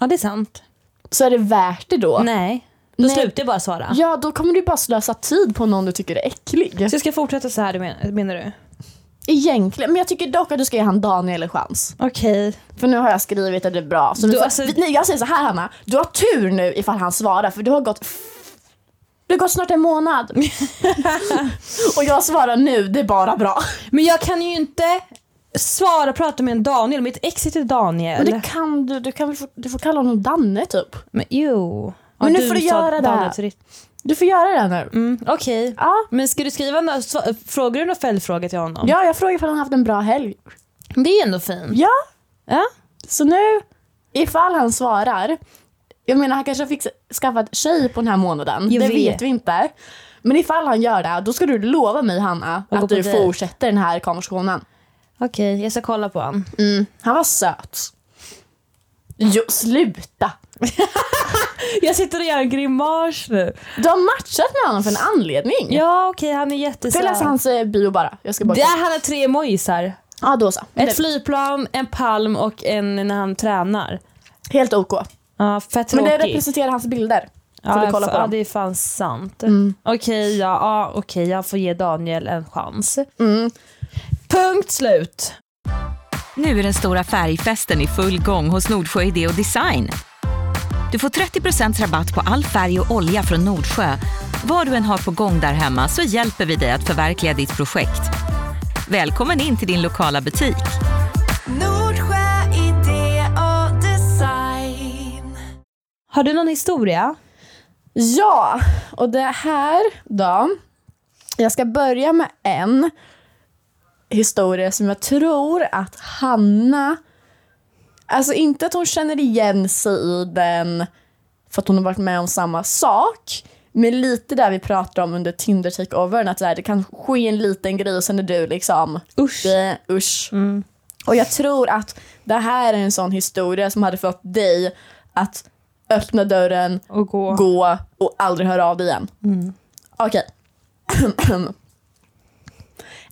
[SPEAKER 2] Ja, det är sant.
[SPEAKER 1] Så är det värt det då?
[SPEAKER 2] Nej. Då
[SPEAKER 1] Nej.
[SPEAKER 2] slutar jag bara svara.
[SPEAKER 1] Ja, då kommer du bara slösa tid på någon du tycker är äcklig.
[SPEAKER 2] Så jag ska fortsätta så här du men, menar du?
[SPEAKER 1] Egentligen, men jag tycker dock att du ska ge han Daniel en chans.
[SPEAKER 2] Okej.
[SPEAKER 1] För nu har jag skrivit att det är bra. Så nu
[SPEAKER 2] Du,
[SPEAKER 1] får,
[SPEAKER 2] alltså-
[SPEAKER 1] nej, jag säger så här Hanna, du har tur nu ifall han svarar för du har gått det har gått snart en månad. Och jag svarar nu, det är bara bra.
[SPEAKER 2] Men jag kan ju inte svara och prata med en Daniel. Mitt ex heter Daniel.
[SPEAKER 1] Men det kan du, du, kan, väl få- du får kalla honom Danne typ.
[SPEAKER 2] Men jo.
[SPEAKER 1] Men
[SPEAKER 2] Ja,
[SPEAKER 1] nu får du
[SPEAKER 2] sa
[SPEAKER 1] göra det.
[SPEAKER 2] Daniel till ditt-
[SPEAKER 1] Du får göra det nu.
[SPEAKER 2] Mm, Okej.
[SPEAKER 1] Ja,
[SPEAKER 2] Men ska du skriva några, sva- frågar du några följdfrågor till honom?
[SPEAKER 1] ja jag frågar ifall han haft en bra helg.
[SPEAKER 2] Det är ändå fint.
[SPEAKER 1] Så nu, ifall han svarar, jag menar han kanske har fixat, skaffat tjej på den här månaden,
[SPEAKER 2] Jag
[SPEAKER 1] det
[SPEAKER 2] vet.
[SPEAKER 1] vet. vi inte. Men ifall han gör det, då ska du lova mig Hanna
[SPEAKER 2] Och gå
[SPEAKER 1] att
[SPEAKER 2] på
[SPEAKER 1] du
[SPEAKER 2] dejt.
[SPEAKER 1] fortsätter den här konversationen.
[SPEAKER 2] Okej, jag ska kolla på honom.
[SPEAKER 1] Mm, han var söt. Jo, sluta!
[SPEAKER 2] Jag sitter och gör en grimas nu.
[SPEAKER 1] Du har matchat med honom för en anledning.
[SPEAKER 2] Ja okej, han är
[SPEAKER 1] Ska
[SPEAKER 2] jättesöt.
[SPEAKER 1] jag läsa hans eh, bio bara? Jag ska bara...
[SPEAKER 2] Där han har tre emojisar.
[SPEAKER 1] Ja, då så.
[SPEAKER 2] Ett
[SPEAKER 1] Det-
[SPEAKER 2] flygplan, en palm och en när han tränar.
[SPEAKER 1] Helt OK.
[SPEAKER 2] Ja, fett
[SPEAKER 1] Men
[SPEAKER 2] tråkig.
[SPEAKER 1] det representerar hans bilder.
[SPEAKER 2] ja,
[SPEAKER 1] får du kolla
[SPEAKER 2] f-
[SPEAKER 1] på
[SPEAKER 2] ja,
[SPEAKER 1] dem.
[SPEAKER 2] det är fan sant.
[SPEAKER 1] Mm.
[SPEAKER 2] Okej, ja, ja, okej, jag får ge Daniel en chans.
[SPEAKER 1] Mm.
[SPEAKER 2] Punkt slut.
[SPEAKER 3] Nu är den stora färgfesten i full gång hos Nordsjö Idé och Design. Du får 30 rabatt på all färg och olja från Nordsjö. Vad du än har på gång där hemma så hjälper vi dig att förverkliga ditt projekt. Välkommen in till din lokala butik.
[SPEAKER 4] Nordsjö idé och design.
[SPEAKER 2] Har du någon historia?
[SPEAKER 1] Ja, och det här då. Jag ska börja med en historia som jag tror att Hanna... Alltså inte att hon känner igen sig i den för att hon har varit med om samma sak. Men lite där vi pratade om under Tinder takeovern att så här, det kan ske en liten grej och sen är du liksom...
[SPEAKER 2] Usch.
[SPEAKER 1] Blä, usch. Och jag tror att det här är en sån historia som hade fått dig att öppna dörren
[SPEAKER 2] Och gå.
[SPEAKER 1] gå och aldrig höra av dig igen. Okej.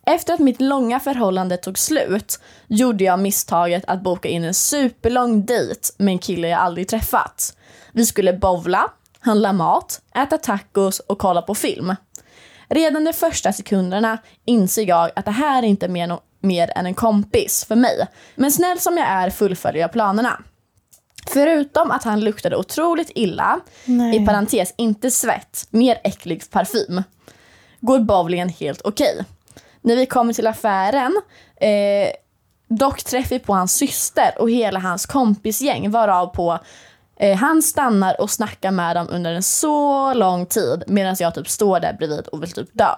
[SPEAKER 1] Efter att mitt långa förhållande tog slut gjorde jag misstaget att boka in en superlång dejt med en kille jag aldrig träffat. Vi skulle bowla, handla mat, äta tacos och kolla på film. Redan de första sekunderna inser jag att det här är inte mer, no- mer än en kompis för mig. Men snäll som jag är fullföljer jag planerna. Förutom att han luktade otroligt illa,
[SPEAKER 2] Nej.
[SPEAKER 1] i parentes inte svett, mer äcklig parfym, går bowlingen helt okej. När vi kommer till affären, eh, dock träffar vi på hans syster och hela hans kompisgäng varav på eh, han stannar och snackar med dem under en så lång tid medan jag typ står där bredvid och vill typ dö.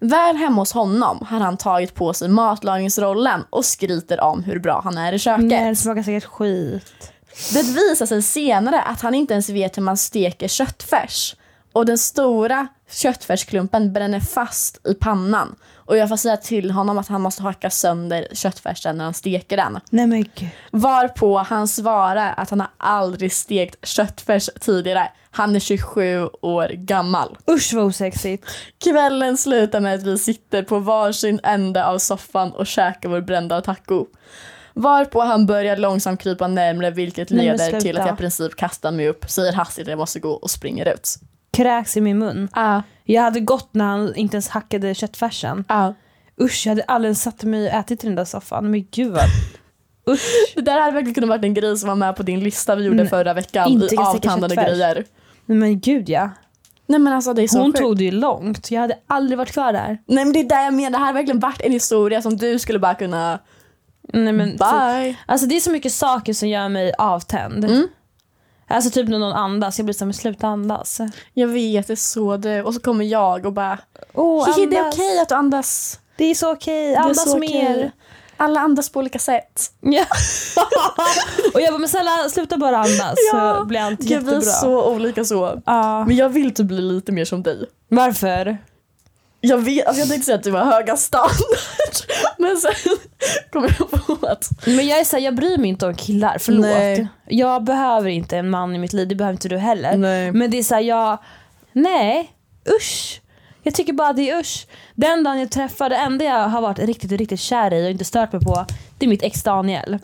[SPEAKER 1] Väl hemma hos honom har han tagit på sig matlagningsrollen och skryter om hur bra han är i köket.
[SPEAKER 2] Nej, det smakar säkert skit.
[SPEAKER 1] Det visar sig senare att han inte ens vet hur man steker köttfärs. Och den stora köttfärsklumpen bränner fast i pannan. Och jag får säga till honom att han måste hacka sönder köttfärsen när han steker den.
[SPEAKER 2] Nej men gud.
[SPEAKER 1] Varpå han svarar att han har aldrig stekt köttfärs tidigare. Han är 27 år gammal.
[SPEAKER 2] Usch vad osexigt.
[SPEAKER 1] Kvällen slutar med att vi sitter på varsin ände av soffan och käkar vår brända taco. Varpå han börjar långsamt krypa närmre vilket
[SPEAKER 2] Nej, men
[SPEAKER 1] leder till
[SPEAKER 2] sluta.
[SPEAKER 1] att jag i princip kastar mig upp, säger hastigt att jag måste gå och springer ut.
[SPEAKER 2] Kräks i min mun.
[SPEAKER 1] Ja,
[SPEAKER 2] Jag hade gått när han inte ens hackade köttfärsen.
[SPEAKER 1] ja.
[SPEAKER 2] Usch, jag hade aldrig satt mig och ätit i den där soffan. Men gud vad... Usch.
[SPEAKER 1] Det där hade verkligen kunnat varit en grej som var med på din lista vi gjorde
[SPEAKER 2] Nej,
[SPEAKER 1] förra veckan
[SPEAKER 2] inte
[SPEAKER 1] i
[SPEAKER 2] kan sticka
[SPEAKER 1] avtandade
[SPEAKER 2] köttfärs.
[SPEAKER 1] grejer.
[SPEAKER 2] Nej, men gud ja.
[SPEAKER 1] Nej men alltså det är så
[SPEAKER 2] Hon
[SPEAKER 1] sjukt.
[SPEAKER 2] tog det ju långt. Jag hade aldrig varit kvar där.
[SPEAKER 1] Nej men det är det jag menar, det här har verkligen varit en historia som du skulle bara kunna...
[SPEAKER 2] Nej, men,
[SPEAKER 1] Bye!
[SPEAKER 2] Alltså det är så mycket saker som gör mig avtänd.
[SPEAKER 1] typ- Mm.
[SPEAKER 2] Alltså typ när någon andas, jag blir som sluta andas.
[SPEAKER 1] Jag vet, det är så du. Och så kommer jag och bara...
[SPEAKER 2] Åh,
[SPEAKER 1] "Hihi, det är
[SPEAKER 2] andas.
[SPEAKER 1] okej att du andas.
[SPEAKER 2] Det är så okej,
[SPEAKER 1] Det är
[SPEAKER 2] andas
[SPEAKER 1] så
[SPEAKER 2] mer.
[SPEAKER 1] okej. Alla andas på olika sätt.
[SPEAKER 2] Ja. och jag bara, men snälla sluta bara andas så
[SPEAKER 1] Ja.
[SPEAKER 2] blir allt
[SPEAKER 1] Gud, vi är
[SPEAKER 2] jättebra.
[SPEAKER 1] så olika så.
[SPEAKER 2] Ja.
[SPEAKER 1] Men jag vill typ bli lite mer som dig.
[SPEAKER 2] Varför?
[SPEAKER 1] Jag, vet, alltså jag tänkte säga att du var höga standard. Men sen kom jag på att...
[SPEAKER 2] Men jag är så här, jag bryr mig inte om killar, förlåt.
[SPEAKER 1] Nej.
[SPEAKER 2] Jag behöver inte en man i mitt liv, det behöver inte du heller.
[SPEAKER 1] Nej. Mm.
[SPEAKER 2] Men det är såhär, jag... Nej, usch. Jag tycker bara det är usch. Den dagen jag träffar, det enda jag har varit riktigt, riktigt kär i och inte stört mig på, det är mitt ex Daniel.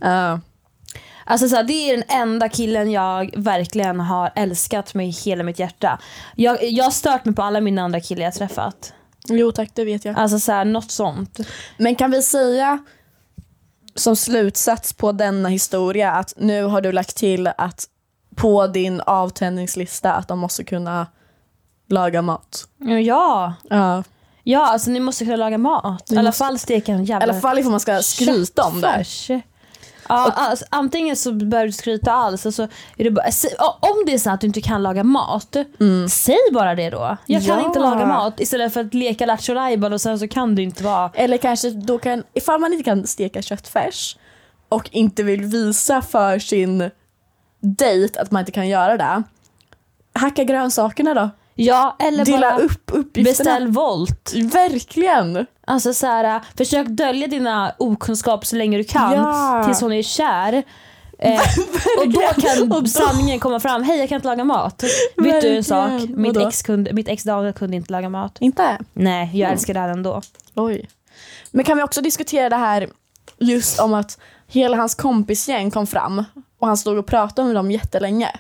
[SPEAKER 2] Alltså så här, det är den enda killen jag verkligen har älskat med hela mitt hjärta. Jag, jag har stört mig på alla mina andra killar jag träffat.
[SPEAKER 1] Jo tack, det vet jag.
[SPEAKER 2] Alltså så här, något sånt.
[SPEAKER 1] Men kan vi säga som slutsats på denna historia att nu har du lagt till att på din avtändningslista att de måste kunna laga mat.
[SPEAKER 2] Ja,
[SPEAKER 1] Ja.
[SPEAKER 2] Ja, alltså ni måste kunna laga mat. I
[SPEAKER 1] Ni
[SPEAKER 2] alla
[SPEAKER 1] måste-
[SPEAKER 2] fall steka en
[SPEAKER 1] I
[SPEAKER 2] jävla
[SPEAKER 1] alla fall ifall man ska skryta om det.
[SPEAKER 2] köttfärs. Ja, alltså, antingen så behöver du skryta alls. och så är det bara, sä- ja, om det är så att du inte kan laga mat, säg bara det då. Jag kan
[SPEAKER 1] Mm. Ja.
[SPEAKER 2] inte laga mat istället för att leka lattjo lajban och sen så kan du inte vara...
[SPEAKER 1] Eller kanske då kan, ifall man inte kan steka köttfärs och inte vill visa för sin dejt att man inte kan göra det. Hacka grönsakerna då.
[SPEAKER 2] Ja, eller
[SPEAKER 1] Dela
[SPEAKER 2] bara
[SPEAKER 1] upp uppgifterna.
[SPEAKER 2] beställ volt.
[SPEAKER 1] Verkligen!
[SPEAKER 2] Alltså så här, försök dölja dina okunskap så länge du kan
[SPEAKER 1] Ja.
[SPEAKER 2] tills hon är kär. Eh, och då kan
[SPEAKER 1] Och då-
[SPEAKER 2] sanningen komma fram. Hej jag kan inte laga mat. Vet du en
[SPEAKER 1] Verkligen.
[SPEAKER 2] sak? Mitt
[SPEAKER 1] Vadå?
[SPEAKER 2] ex, kunde, mitt ex Daniel kunde inte laga mat.
[SPEAKER 1] Inte?
[SPEAKER 2] Nej, jag
[SPEAKER 1] Mm.
[SPEAKER 2] älskar det här ändå.
[SPEAKER 1] Oj. Men kan vi också diskutera det här just om att hela hans kompisgäng kom fram och han stod och pratade med dem jättelänge.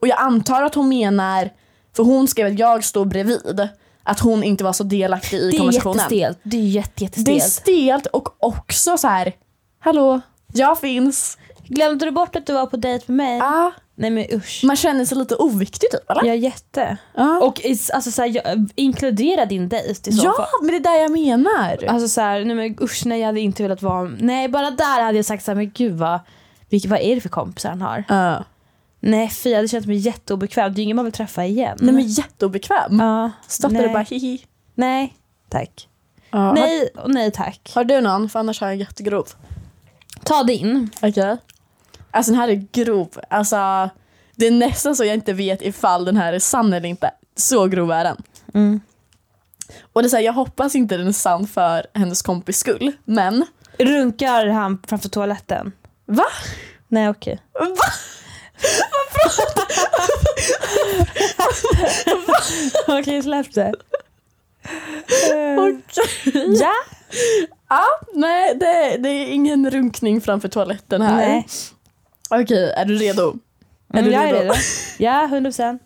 [SPEAKER 1] Och jag antar att hon menar, för hon skrev att jag stod bredvid, att hon inte var så delaktig i
[SPEAKER 2] Det är
[SPEAKER 1] konversationen.
[SPEAKER 2] jättestelt. Det är jätte,
[SPEAKER 1] Det är
[SPEAKER 2] jättestelt.
[SPEAKER 1] stelt och också så här. hallå, jag finns.
[SPEAKER 2] Glömde du bort att du var på dejt med mig?
[SPEAKER 1] Ah.
[SPEAKER 2] Nej men usch.
[SPEAKER 1] Man känner sig lite oviktig typ eller?
[SPEAKER 2] Jag är jätte.
[SPEAKER 1] Ja,
[SPEAKER 2] Och is- alltså, så här, jag, inkludera din dejt i så
[SPEAKER 1] ja
[SPEAKER 2] fall.
[SPEAKER 1] Ah, men det är där jag menar.
[SPEAKER 2] Alltså så här, nej men usch nej jag hade inte velat vara, nej bara där hade jag sagt så här, men gud vad, vilka, vad är det för kompisar han har?
[SPEAKER 1] Ja.
[SPEAKER 2] Nej fy jag hade känt mig jätteobekväm, det är ingen man vill träffa igen.
[SPEAKER 1] Nej men jätteobekväm.
[SPEAKER 2] ja,
[SPEAKER 1] Stoppade
[SPEAKER 2] nej.
[SPEAKER 1] bara hihi.
[SPEAKER 2] Nej, tack.
[SPEAKER 1] Ja.
[SPEAKER 2] Nej och nej tack.
[SPEAKER 1] Har du någon? För annars har jag en jättegrov.
[SPEAKER 2] Ta din.
[SPEAKER 1] Okej. Alltså den här är grov. Alltså, det är nästan så jag inte vet ifall den här är sann eller inte. Så grov är den.
[SPEAKER 2] Mm.
[SPEAKER 1] Och det är så här, jag hoppas inte den är sann för hennes kompis skull. Men
[SPEAKER 2] Runkar han framför toaletten?
[SPEAKER 1] Va?
[SPEAKER 2] Nej okej. Va? okej släpp det.
[SPEAKER 1] Okej.
[SPEAKER 2] Ja.
[SPEAKER 1] nej, det, det är ingen runkning framför toaletten här.
[SPEAKER 2] Nej.
[SPEAKER 1] Okej, är du redo? Är
[SPEAKER 2] Mm,
[SPEAKER 1] du
[SPEAKER 2] jag är
[SPEAKER 1] redo?
[SPEAKER 2] redo. Ja, 100 procent.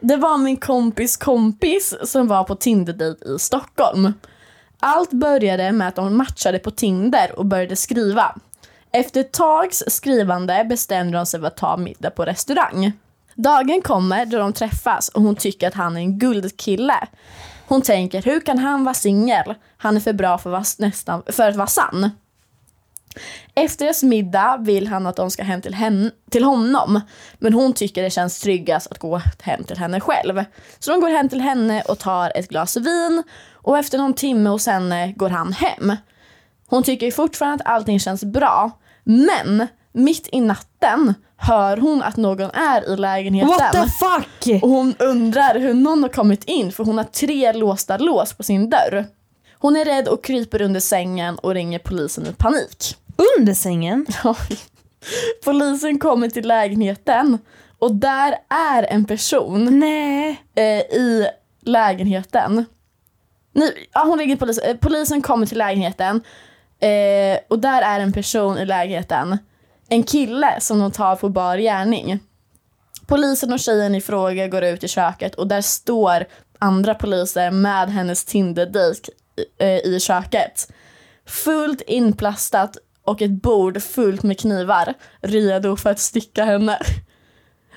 [SPEAKER 1] Det var min kompis kompis som var på Tinder-dejt i Stockholm. Allt började med att de matchade på Tinder och började skriva. Efter ett tags skrivande bestämde de sig för att ta middag på restaurang. Dagen kommer då de träffas och hon tycker att han är en guldkille. Hon tänker, hur kan han vara singel? Han är för bra för, att vara s- nästan, för att vara sann. Efter deras middag vill han att de ska hem till, hen- till honom. Men hon tycker det känns tryggast att gå hem till henne själv. Så de går hem till henne och tar ett glas vin. Och efter någon timme hos henne går han hem. Hon tycker fortfarande att allting känns bra. Men mitt i natten hör hon att någon är i lägenheten.
[SPEAKER 2] What the fuck!
[SPEAKER 1] Och hon undrar hur någon har kommit in för hon har tre låsta lås på sin dörr. Hon är rädd och kryper under sängen och ringer polisen i panik.
[SPEAKER 2] Under sängen?
[SPEAKER 1] Polisen kommer till lägenheten och där är en person
[SPEAKER 2] Nej.
[SPEAKER 1] eh, i lägenheten. Nej, ja, hon ringer polisen. Eh, polisen kommer till lägenheten eh, och där är en person i lägenheten. En kille som de tar på bar gärning. Polisen och tjejen i fråga går ut i köket och där står andra poliser med hennes Tinder-dejt eh, i köket. Fullt inplastat och ett bord fullt med knivar redo för att stycka henne.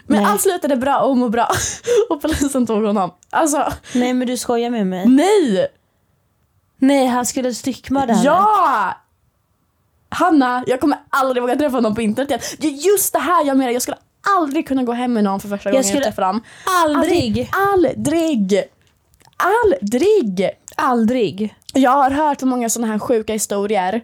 [SPEAKER 1] Men
[SPEAKER 2] Nej.
[SPEAKER 1] allt slutade bra och hon mår bra. Och polisen tog honom. Alltså,
[SPEAKER 2] Nej men du skojar med mig.
[SPEAKER 1] nej!
[SPEAKER 2] Nej han skulle styckmörda henne.
[SPEAKER 1] Ja! Hanna, jag kommer aldrig våga träffa någon på internet igen. Det är just det här jag menar, jag skulle aldrig kunna gå hem med någon för första gången
[SPEAKER 2] skulle-
[SPEAKER 1] jag träffar dem.
[SPEAKER 2] Aldrig.
[SPEAKER 1] Aldrig! Aldrig!
[SPEAKER 2] Aldrig.
[SPEAKER 1] Jag har hört många sådana här sjuka historier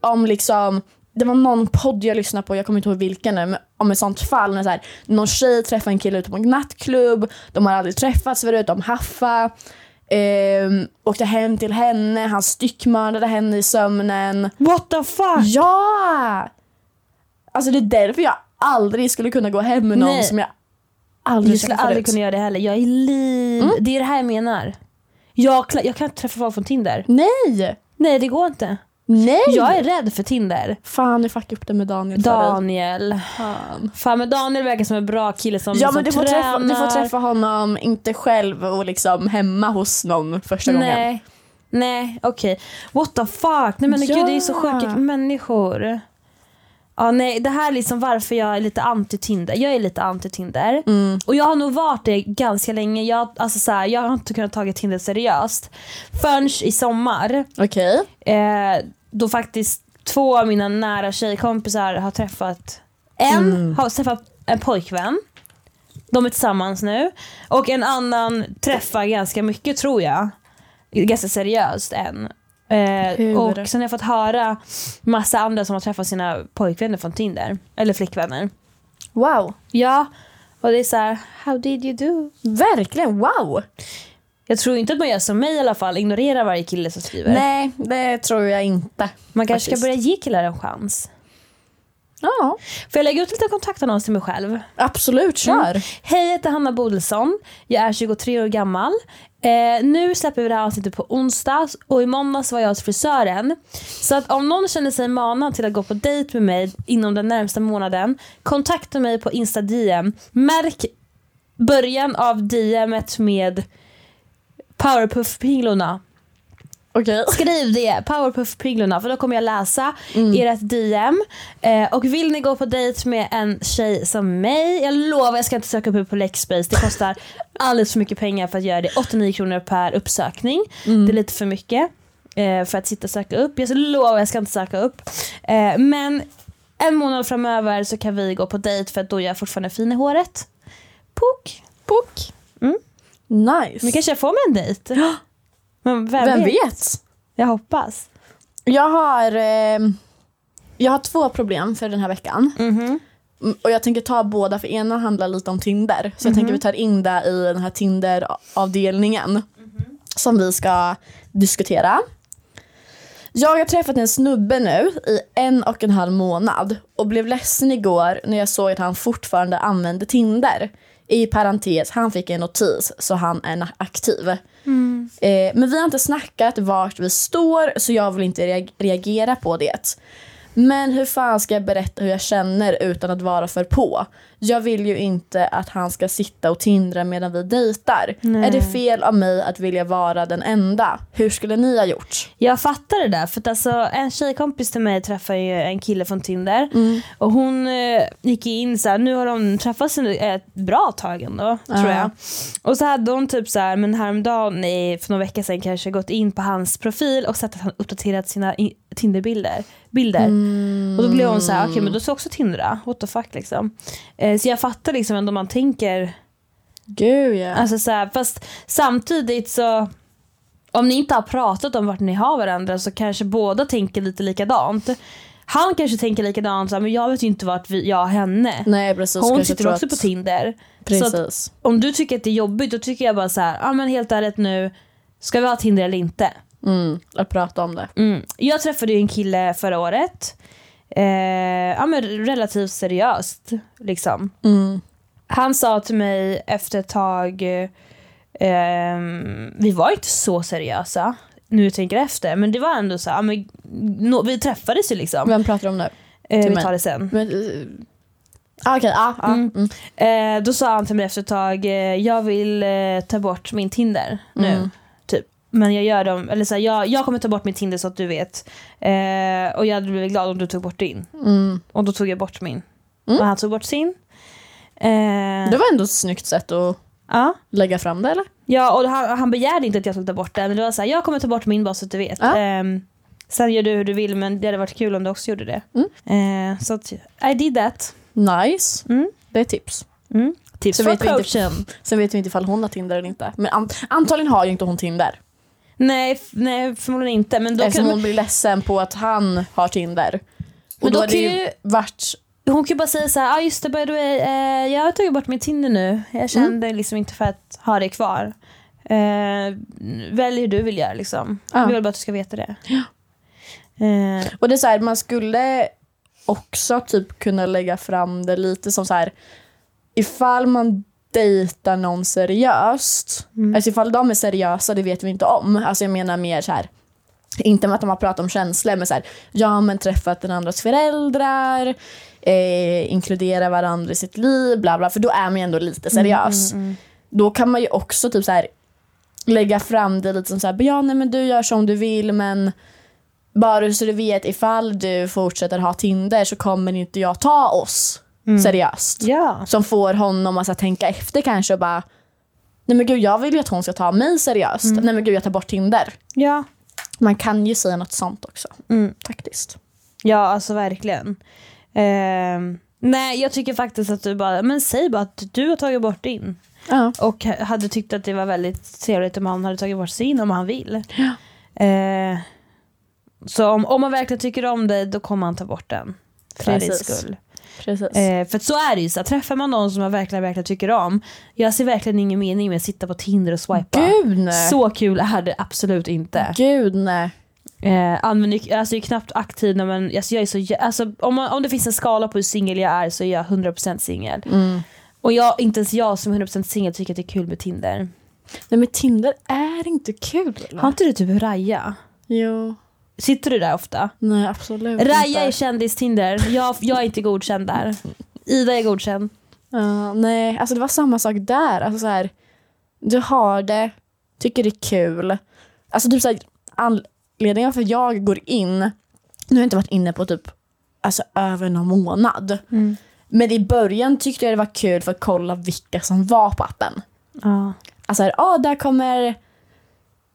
[SPEAKER 1] om liksom det var någon podd jag lyssnade på, jag kommer inte ihåg vilken nu, men om ett sånt fall när så här, någon tjej träffar en kille ute på en nattklubb, de har aldrig träffats förut, de haffade, ehm, åkte hem till henne, han styckmördade henne i sömnen.
[SPEAKER 2] What the fuck!
[SPEAKER 1] Ja! Alltså det är därför jag aldrig skulle kunna gå hem med någon
[SPEAKER 2] Nej.
[SPEAKER 1] som jag aldrig
[SPEAKER 2] Jag skulle
[SPEAKER 1] träffat
[SPEAKER 2] aldrig
[SPEAKER 1] förut. Mm.
[SPEAKER 2] kunna göra det heller. Jag är liv. Det är det här jag menar. Jag, kla- jag kan inte träffa folk från Tinder.
[SPEAKER 1] Nej!
[SPEAKER 2] Nej det går inte.
[SPEAKER 1] Nej!
[SPEAKER 2] Jag är rädd för Tinder.
[SPEAKER 1] Fan, jag fuckade upp det med Daniel förut.
[SPEAKER 2] Daniel.
[SPEAKER 1] Fan.
[SPEAKER 2] Fan men Daniel verkar som en bra kille som
[SPEAKER 1] Ja men du får,
[SPEAKER 2] tränar.
[SPEAKER 1] träffa, du får träffa honom, inte själv och liksom hemma hos någon första gången.
[SPEAKER 2] Nej. Nej okej. What the fuck. Nej men
[SPEAKER 1] Ja.
[SPEAKER 2] gud det är så sjuka människor. Ja Ja, nej, det här är liksom varför jag är lite anti-Tinder. Jag är lite anti-Tinder.
[SPEAKER 1] Mm.
[SPEAKER 2] Och jag har nog varit det ganska länge. Jag, alltså, så här, jag har inte kunnat ta Tinder seriöst förrän i sommar.
[SPEAKER 1] Okej.
[SPEAKER 2] Eh, då faktiskt två av mina nära tjejkompisar har träffat en
[SPEAKER 1] Mm.
[SPEAKER 2] har träffat en pojkvän. De är tillsammans nu. Och en annan träffar ganska mycket tror jag. Ganska seriöst än. Eh,
[SPEAKER 1] Hur?
[SPEAKER 2] och sen har jag fått höra massa andra som har träffat sina pojkvänner från Tinder. Eller flickvänner.
[SPEAKER 1] Wow.
[SPEAKER 2] Ja, och det är så här, how did you do?
[SPEAKER 1] Verkligen wow.
[SPEAKER 2] Jag tror inte att man gör som mig i alla fall, ignorerar varje kille som skriver.
[SPEAKER 1] Nej, det tror jag inte.
[SPEAKER 2] man kanske
[SPEAKER 1] faktiskt.
[SPEAKER 2] ska börja ge killar en chans.
[SPEAKER 1] Ja,
[SPEAKER 2] Får jag lägga ut lite kontaktannons till mig själv?
[SPEAKER 1] absolut. Kör.
[SPEAKER 2] Hej, jag heter Hanna Bodilsson. Jag är 23 år gammal. Eh, nu släpper vi det här avsnittet på onsdag och i måndags var jag hos frisören. Så att om någon känner sig manad till att gå på dejt med mig inom den närmsta månaden, kontakta mig på Insta DM. Märk början av DMet med Powerpuff-pinglorna.
[SPEAKER 1] Okej.
[SPEAKER 2] Skriv det, Powerpuff-pinglorna, för då kommer jag läsa
[SPEAKER 1] Mm,
[SPEAKER 2] ert DM. Eh, och vill ni gå på dejt med en tjej som mig, jag lovar jag ska inte söka upp er på Lexbase. Det kostar alldeles för mycket pengar för att göra det. 89 kronor per uppsökning.
[SPEAKER 1] mm.
[SPEAKER 2] Det är lite för mycket eh, för att sitta och söka upp. Jag lovar jag ska inte söka upp. Eh, men en månad framöver så kan vi gå på dejt för att då är jag fortfarande fin i håret. Pok. Pok.
[SPEAKER 1] Nice.
[SPEAKER 2] Nu kanske jag får mig en dejt. Men vem,
[SPEAKER 1] Vem
[SPEAKER 2] vet?
[SPEAKER 1] vet?
[SPEAKER 2] Jag hoppas.
[SPEAKER 1] Jag har, eh, jag har två problem för den här veckan. Mm, Och jag tänker ta båda för ena handlar lite om Tinder. Så jag tänker vi tar in det i den här Tinder-avdelningen. Som vi ska diskutera. Jag har träffat en snubbe nu i en och en halv månad och blev ledsen igår när jag såg att han fortfarande använde Tinder. I parentes, han fick en notis så han är na- aktiv. Eh, men vi har inte snackat vart vi står så jag vill inte reag- reagera på det. Men hur fan ska jag berätta hur jag känner utan att vara för på? Jag vill ju inte att han ska sitta och tindra medan vi dejtar. Är det fel av mig att vilja vara den enda? Hur skulle ni ha gjort?
[SPEAKER 2] Jag fattar det där för att alltså, en tjejkompis till mig träffade ju en kille från Tinder och hon eh, gick in så här, nu har de träffats under ett bra tag ändå tror jag. Och så hade hon typ så här, men häromdagen i, för några veckor sedan kanske gått in på hans profil och sett att han uppdaterat sina i- Tinderbilder. Bilder. Och då blev hon så här, okej men då ska jag också Tindra, what the fuck liksom. Eh, så jag fattar liksom ändå man tänker
[SPEAKER 1] Gud ja.
[SPEAKER 2] Alltså så här, fast samtidigt så om ni inte har pratat om vart ni har varandra så kanske båda tänker lite likadant. Han kanske tänker likadant, så här, men jag vet ju inte vart vi, jag och henne.
[SPEAKER 1] Nej precis.
[SPEAKER 2] Hon
[SPEAKER 1] Kanske
[SPEAKER 2] sitter
[SPEAKER 1] tror
[SPEAKER 2] också
[SPEAKER 1] att-
[SPEAKER 2] på Tinder. Så att,
[SPEAKER 1] Precis.
[SPEAKER 2] om du tycker att det är jobbigt då tycker jag bara så här, ah, men helt ärligt nu, ska vi ha Tinder eller inte?
[SPEAKER 1] Mm, att prata om det.
[SPEAKER 2] Mm. Jag träffade ju en kille förra året. Eh, ja, men relativt seriöst. Liksom. Han sa till mig efter ett tag, eh, vi var inte så seriösa nu jag tänker efter, men det var ändå så här, ja, men, nå- vi träffades ju liksom.
[SPEAKER 1] Vem pratar du om nu?
[SPEAKER 2] Eh, vi
[SPEAKER 1] mig.
[SPEAKER 2] tar det sen.
[SPEAKER 1] Men, eh, ah, Okej, ah, ah,
[SPEAKER 2] Mm.
[SPEAKER 1] mm.
[SPEAKER 2] Eh, då sa han till mig efter ett tag, eh, jag vill eh, ta bort min Tinder nu.
[SPEAKER 1] Mm.
[SPEAKER 2] Typ. Men jag gör dem, eller så här, jag, jag kommer ta bort min Tinder så att du vet. Eh, och jag hade blivit glad om du tog bort din.
[SPEAKER 1] Mm.
[SPEAKER 2] Och då tog jag bort min.
[SPEAKER 1] Mm.
[SPEAKER 2] Och han tog bort sin. Eh,
[SPEAKER 1] Det var ändå ett snyggt sätt att
[SPEAKER 2] ja.
[SPEAKER 1] lägga fram det eller?
[SPEAKER 2] ja, och han, han begärde inte att jag skulle ta bort den. Men det var så här, jag kommer ta bort min bara så att du vet.
[SPEAKER 1] Ja.
[SPEAKER 2] Ehm, sen gör du hur du vill men det hade varit kul om du också gjorde det. Eh, så att, I did that.
[SPEAKER 1] Nice.
[SPEAKER 2] Mm.
[SPEAKER 1] Det är tips.
[SPEAKER 2] Mm. Tips
[SPEAKER 1] Så
[SPEAKER 2] från
[SPEAKER 1] vet vi inte-
[SPEAKER 2] coachen.
[SPEAKER 1] Sen vet vi inte ifall hon har Tinder eller inte. Men an- antagligen har ju inte hon Tinder.
[SPEAKER 2] Nej, f- nej, förmodligen inte. Men då
[SPEAKER 1] eftersom
[SPEAKER 2] kan,
[SPEAKER 1] hon blir ledsen på att han har Tinder. Och
[SPEAKER 2] Men
[SPEAKER 1] då,
[SPEAKER 2] då
[SPEAKER 1] har det
[SPEAKER 2] kan
[SPEAKER 1] ju
[SPEAKER 2] ju-
[SPEAKER 1] varit...
[SPEAKER 2] Hon kan ju bara säga så här, ah, just det by the way, eh, jag har tagit bort min Tinder nu. Jag kände liksom inte för att ha det kvar. Eh, välj hur du vill göra liksom.
[SPEAKER 1] Ja.
[SPEAKER 2] Jag vill bara att du ska veta det. Eh,
[SPEAKER 1] Och det är så här, man skulle också typ kunna lägga fram det lite som så här ifall man dejtar någon seriöst,
[SPEAKER 2] mm.
[SPEAKER 1] alltså ifall de är seriösa det vet vi inte om, alltså jag menar mer så här inte med att de har pratat om känslor men så här, ja men träffat den andras föräldrar, eh, inkludera varandra i sitt liv, bla bla, för då är man ju ändå lite
[SPEAKER 2] Mm,
[SPEAKER 1] seriös. Då kan man ju också typ så här lägga fram det lite som så här, ja nej men du gör som du vill men bara så du vet, ifall du fortsätter ha Tinder så kommer inte jag ta oss seriöst.
[SPEAKER 2] Mm. Ja.
[SPEAKER 1] Som får honom att så här, tänka efter kanske och bara, nej men gud jag vill ju att hon ska ta mig seriöst. Nej men gud jag tar bort Tinder.
[SPEAKER 2] Ja.
[SPEAKER 1] Mm. Man kan ju säga något sånt också,
[SPEAKER 2] Mm.
[SPEAKER 1] faktiskt.
[SPEAKER 2] ja, alltså verkligen. Ehm, nej, jag tycker faktiskt att du bara, men säg bara att du har tagit bort din.
[SPEAKER 1] Ja.
[SPEAKER 2] Och ha- hade tyckt att det var väldigt trevligt om han hade tagit bort sin om han vill. Eh, så om, om man verkligen tycker om dig då kommer han ta bort den. För din
[SPEAKER 1] Precis.
[SPEAKER 2] skull.
[SPEAKER 1] Precis.
[SPEAKER 2] Eh, för att så är det ju, så här, träffar man någon som man verkligen, verkligen tycker om. Jag ser verkligen ingen mening med att sitta på Tinder och swipa.
[SPEAKER 1] Gud nej.
[SPEAKER 2] Så kul är det absolut inte.
[SPEAKER 1] Gud nej.
[SPEAKER 2] Eh, använder, ju- alltså, jag är knappt aktiv när man, alltså, jag är så, jä- alltså, om, man, om det finns en skala på hur singel jag är så är jag 100% singel.
[SPEAKER 1] Mm.
[SPEAKER 2] Och jag, inte ens jag som är 100% singel tycker att det är kul med Tinder.
[SPEAKER 1] Nej men Tinder är inte kul.
[SPEAKER 2] Har inte du typ Raja?
[SPEAKER 1] Jo.
[SPEAKER 2] Sitter du där ofta?
[SPEAKER 1] Nej absolut
[SPEAKER 2] Raja är
[SPEAKER 1] inte.
[SPEAKER 2] kändis-Tinder. Jag, jag är inte godkänd där. Ida är godkänd.
[SPEAKER 1] Ja, nej, alltså det var samma sak där. Alltså så här, du har det, tycker det är kul. Alltså typ så här, anledningen varför jag går in, nu har jag inte varit inne på typ alltså över någon månad.
[SPEAKER 2] Mm.
[SPEAKER 1] Men i början tyckte jag det var kul för att kolla vilka som var på appen.
[SPEAKER 2] Ja.
[SPEAKER 1] Alltså här, ah, där kommer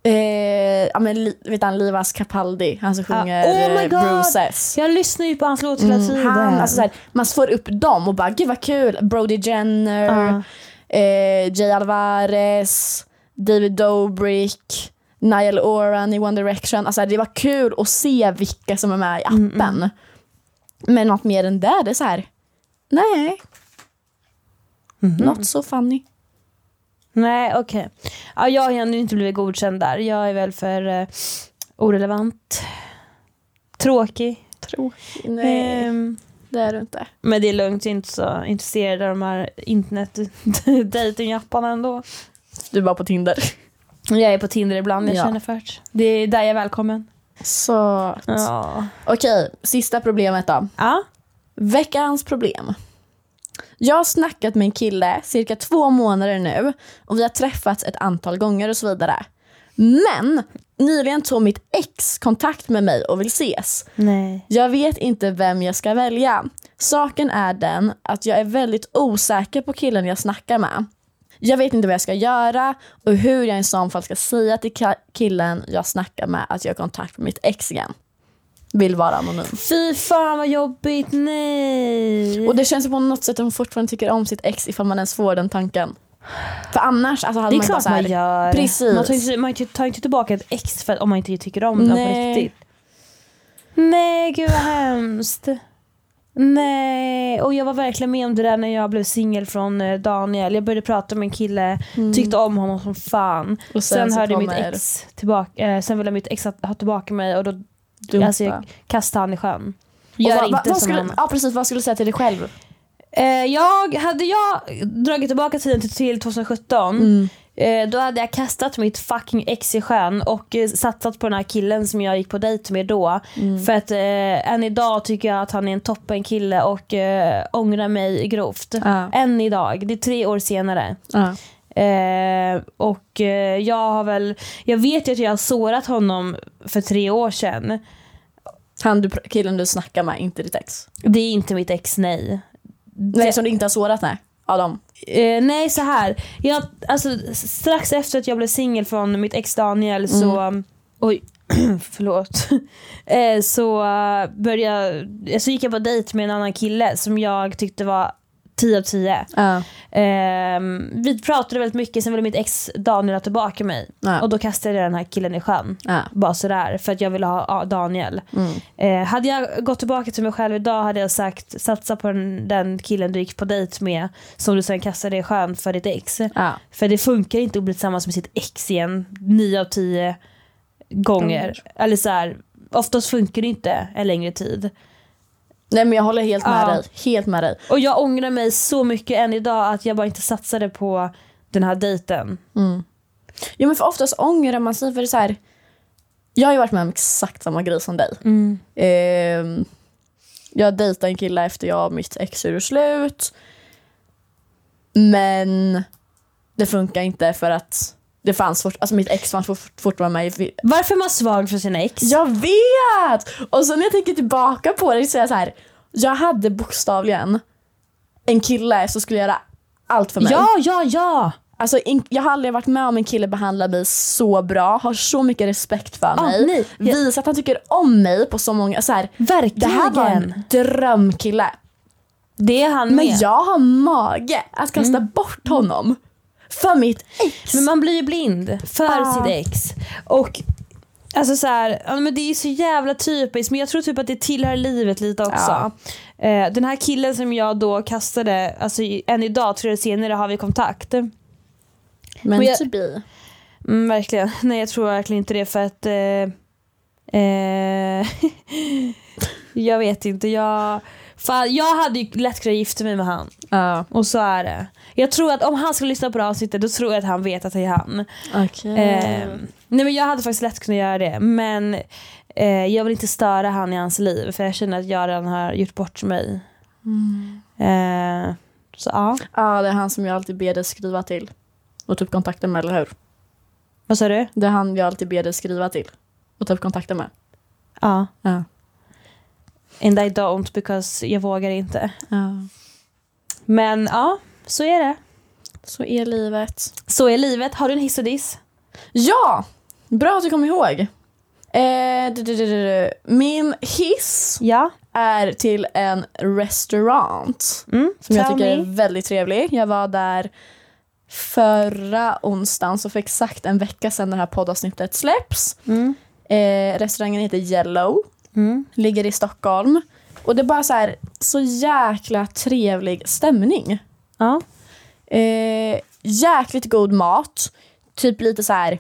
[SPEAKER 1] Eh, ja men li- vet han Livas Capaldi, han som
[SPEAKER 2] Ja.
[SPEAKER 1] sjunger
[SPEAKER 2] Oh my
[SPEAKER 1] eh,
[SPEAKER 2] God!
[SPEAKER 1] Bruises.
[SPEAKER 2] Jag lyssnar ju på hans låt hela
[SPEAKER 1] Mm,
[SPEAKER 2] tiden.
[SPEAKER 1] Han, alltså såhär, man får upp dem och bara gud vad kul. Brody Jenner,
[SPEAKER 2] Ja.
[SPEAKER 1] eh, Jay Alvarez, David Dobrik, Niall Oran i One Direction. Alltså, det var kul att se vilka som är med i appen. Men något mer än det, det är så här. nej, not so funny.
[SPEAKER 2] Mm-hmm. Nej okej. Ja, jag har ännu inte blivit godkänd där. Jag är väl för eh, orelevant. Tråkig.
[SPEAKER 1] Tråkig. Nej,
[SPEAKER 2] Ehm,
[SPEAKER 1] Eh, det är du inte.
[SPEAKER 2] men det är lugnt, jag är inte så intresserad av de här internet datingapparna ändå.
[SPEAKER 1] Du är bara på Tinder.
[SPEAKER 2] Jag är på Tinder ibland, jag
[SPEAKER 1] Ja.
[SPEAKER 2] känner för det. Det är där jag är välkommen.
[SPEAKER 1] Så,
[SPEAKER 2] Ja.
[SPEAKER 1] okej, sista problemet då.
[SPEAKER 2] ja.
[SPEAKER 1] Veckans problem. Jag har snackat med en kille cirka två månader nu och vi har träffats ett antal gånger och så vidare. Men nyligen tog mitt ex kontakt med mig och vill ses.
[SPEAKER 2] Nej.
[SPEAKER 1] Jag vet inte vem jag ska välja. Saken är den att jag är väldigt osäker på killen jag snackar med. Jag vet inte vad jag ska göra och hur jag i så fall ska säga till ka- killen jag snackar med att jag har kontakt med mitt ex igen. Vill vara anonym.
[SPEAKER 2] Fy fan vad jobbigt, nej.
[SPEAKER 1] Och det känns ju på något sätt att hon fortfarande tycker om sitt ex ifall man ens får den tanken. För annars alltså, hade man
[SPEAKER 2] det är
[SPEAKER 1] ju bara
[SPEAKER 2] klart man
[SPEAKER 1] såhär,
[SPEAKER 2] gör.
[SPEAKER 1] Precis.
[SPEAKER 2] Man tar inte, man tar inte tillbaka ett ex för, om man inte tycker om det på
[SPEAKER 1] Nej.
[SPEAKER 2] riktigt. Nej, gud vad hemskt. Nej, och jag var verkligen med om det där när jag blev singel från eh, Daniel. Jag började prata med en kille, tyckte om honom som fan.
[SPEAKER 1] mm. och
[SPEAKER 2] Sen,
[SPEAKER 1] så
[SPEAKER 2] hörde mitt
[SPEAKER 1] kommer
[SPEAKER 2] ex tillbaka, eh, sen ville mitt ex att- ha tillbaka mig och då
[SPEAKER 1] dumpa.
[SPEAKER 2] alltså, jag kastade han i sjön.
[SPEAKER 1] Och
[SPEAKER 2] Gör
[SPEAKER 1] vad-
[SPEAKER 2] inte
[SPEAKER 1] vad, vad
[SPEAKER 2] som
[SPEAKER 1] skulle,
[SPEAKER 2] han.
[SPEAKER 1] Ja precis, vad skulle du säga till dig själv?
[SPEAKER 2] Eh, jag, hade jag dragit tillbaka tiden till, till 2017
[SPEAKER 1] Mm.
[SPEAKER 2] eh, då hade jag kastat mitt fucking ex i sjön och eh, satsat på den här killen som jag gick på dejt med då.
[SPEAKER 1] Mm.
[SPEAKER 2] För att eh, än idag tycker jag att han är en toppen kille och eh, ångrar mig grovt.
[SPEAKER 1] Ja.
[SPEAKER 2] Än idag, det är tre år senare.
[SPEAKER 1] Ja.
[SPEAKER 2] Eh, och eh, jag har väl, jag vet ju att jag har sårat honom för tre år sedan.
[SPEAKER 1] Han du, pr- killen du snackar med, inte ditt ex.
[SPEAKER 2] Det är inte mitt ex, nej. Alltså,
[SPEAKER 1] Nej, som du inte har sårat nej. Adam.
[SPEAKER 2] Eh, nej så här. Jag, alltså, strax efter att jag blev singel från mitt ex Daniel så,
[SPEAKER 1] Mm.
[SPEAKER 2] oj, förlåt. Eh, så eh, började jag, alltså gick jag på dejt med en annan kille som jag tyckte var 10 av 10.
[SPEAKER 1] Ja.
[SPEAKER 2] Ehm, vi pratade väldigt mycket, sen ville mitt ex Daniel ha tillbaka mig.
[SPEAKER 1] Ja.
[SPEAKER 2] Och då kastade jag den här killen i sjön.
[SPEAKER 1] Ja.
[SPEAKER 2] Bara sådär, för att jag ville ha ja, Daniel.
[SPEAKER 1] Mm.
[SPEAKER 2] Eh, hade jag gått tillbaka till mig själv idag hade jag sagt satsa på den, den killen du gick på dejt med som du sen kastade i sjön för ditt ex.
[SPEAKER 1] Ja.
[SPEAKER 2] För det funkar inte att bli tillsammans med sitt ex igen nio av tio gånger.
[SPEAKER 1] Gånger.
[SPEAKER 2] Eller så här, oftast funkar det inte en längre tid.
[SPEAKER 1] Nej men jag håller helt med
[SPEAKER 2] Ja.
[SPEAKER 1] dig. Helt med dig.
[SPEAKER 2] Och jag ångrar mig så mycket än idag att jag bara inte satsade på den här dejten.
[SPEAKER 1] Mm. Jo men för oftast ångrar man sig för det är så här. Jag har ju varit med om exakt samma grej som dig. Ehm, jag dejtade en kille efter jag och mitt ex gjorde slut. Men det funkar inte för att det fanns fort, alltså mitt ex fanns fort- fortfarande med i
[SPEAKER 2] Varför är man svag för sina ex?
[SPEAKER 1] Jag vet! Och så när jag tänker tillbaka på det så är jag så här. Jag hade bokstavligen en kille som skulle göra allt för mig.
[SPEAKER 2] ja, ja, ja.
[SPEAKER 1] Alltså, in, jag har aldrig varit med om en kille behandlar mig så bra, har så mycket respekt för
[SPEAKER 2] Ah,
[SPEAKER 1] mig.
[SPEAKER 2] nej. Jag-
[SPEAKER 1] Visar att han tycker om mig på så många... Så här,
[SPEAKER 2] Verkligen.
[SPEAKER 1] det här var en drömkille.
[SPEAKER 2] Det är han
[SPEAKER 1] Men
[SPEAKER 2] med.
[SPEAKER 1] jag har mage att kasta bort honom för mitt ex.
[SPEAKER 2] Men man blir ju blind för
[SPEAKER 1] Ah.
[SPEAKER 2] sitt ex. Och alltså så här, ja, men det är så jävla typiskt men jag tror typ att det tillhör livet lite också. Eh, den här killen som jag då kastade, alltså i- än idag tre år senare har vi kontakt.
[SPEAKER 1] Men,
[SPEAKER 2] men jag-
[SPEAKER 1] to be.
[SPEAKER 2] Mm, verkligen, nej jag tror verkligen inte det för att eh, eh, jag vet inte, jag, fan, jag hade ju lätt kunnat gifta mig med han
[SPEAKER 1] Ja,
[SPEAKER 2] och så är det. Jag tror att om han skulle lyssna på det här avsnittet då tror jag att han vet att det är han.
[SPEAKER 1] okej.
[SPEAKER 2] Eh,
[SPEAKER 1] ehm,
[SPEAKER 2] nej men jag hade faktiskt lätt kunnat göra det men eh, jag vill inte störa han i hans liv för jag känner att jag redan har gjort bort mig. Eh, så ja,
[SPEAKER 1] Ja, det är han som jag alltid ber dig skriva till. Och typ kontakta med, eller hur?
[SPEAKER 2] vad sa du?
[SPEAKER 1] Det är han jag alltid ber dig skriva till. Och typ kontakta med.
[SPEAKER 2] Ja.
[SPEAKER 1] Ja.
[SPEAKER 2] And I don't because jag vågar inte.
[SPEAKER 1] ja.
[SPEAKER 2] Men ja, så är det.
[SPEAKER 1] Så är livet.
[SPEAKER 2] Så är livet. Har du en hiss och diss?
[SPEAKER 1] Ja! Bra att du kom ihåg. Eh, du, du, du, du, du. Min hiss
[SPEAKER 2] Ja.
[SPEAKER 1] är till en restaurang
[SPEAKER 2] Mm.
[SPEAKER 1] som jag
[SPEAKER 2] Tell
[SPEAKER 1] tycker
[SPEAKER 2] me.
[SPEAKER 1] är väldigt trevlig. Jag var där förra onsdagen, så för exakt en vecka sedan det här poddavsnittet släpps.
[SPEAKER 2] Mm.
[SPEAKER 1] Eh, restaurangen heter Yellow.
[SPEAKER 2] Mm.
[SPEAKER 1] ligger i Stockholm. Och det är bara så här, så jäkla trevlig stämning.
[SPEAKER 2] Ja.
[SPEAKER 1] Eh, jäkligt god mat. Typ lite så här...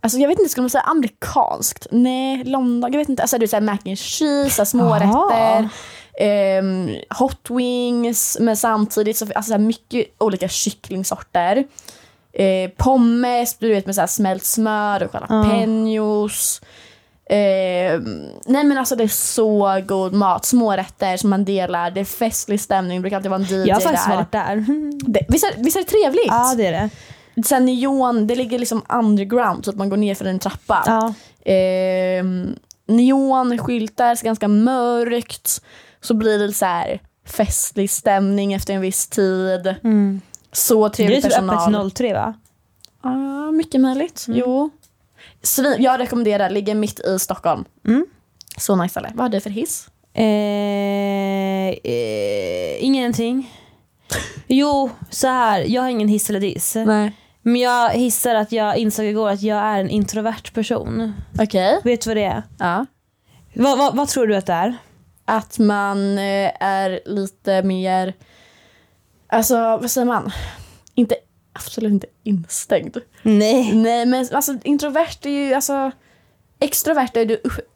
[SPEAKER 1] Alltså jag vet inte, skulle man säga amerikanskt? Nej, London. Jag vet inte. Alltså du vet så här mac and cheese, så här smårätter. ehm, hot wings. Men samtidigt så, alltså så här mycket olika kycklingsorter. Eh, pommes, du vet med så här smält smör och jalapenos. Ehm, nej men alltså det är så god mat. Smårätter som man delar. Det är festlig stämning. Det brukar alltid vara en DJ
[SPEAKER 2] Jag har faktiskt
[SPEAKER 1] där.
[SPEAKER 2] varit där.
[SPEAKER 1] Det, visst, är, visst är det trevligt?
[SPEAKER 2] ja det är det.
[SPEAKER 1] Sen neon, det ligger liksom underground så att man går ner för en trappa.
[SPEAKER 2] Ja.
[SPEAKER 1] Ehm, neonskyltar, så ganska mörkt. Så blir det så här festlig stämning efter en viss tid.
[SPEAKER 2] Mm.
[SPEAKER 1] Så
[SPEAKER 2] Det är
[SPEAKER 1] trevlig
[SPEAKER 2] typ
[SPEAKER 1] personal.
[SPEAKER 2] öppet till Mm. 03 va?
[SPEAKER 1] Ja, mycket möjligt. Jo. Svin, jag rekommenderar, ligger mitt i Stockholm.
[SPEAKER 2] Mm.
[SPEAKER 1] Så nice ställe. Vad har du för hiss?
[SPEAKER 2] Eh, eh, ingenting. Jo, så här. Jag har ingen hiss eller diss.
[SPEAKER 1] Nej.
[SPEAKER 2] Men jag hissar att jag insåg igår att jag är en introvert person.
[SPEAKER 1] Okej.
[SPEAKER 2] Vet du vad det är?
[SPEAKER 1] Ja.
[SPEAKER 2] Vad- vad- vad tror du att det är?
[SPEAKER 1] Att man eh, är lite mer, alltså vad säger man? Inte, absolut inte instängd.
[SPEAKER 2] Nej.
[SPEAKER 1] Nej men alltså introvert är ju alltså extrovert är du u-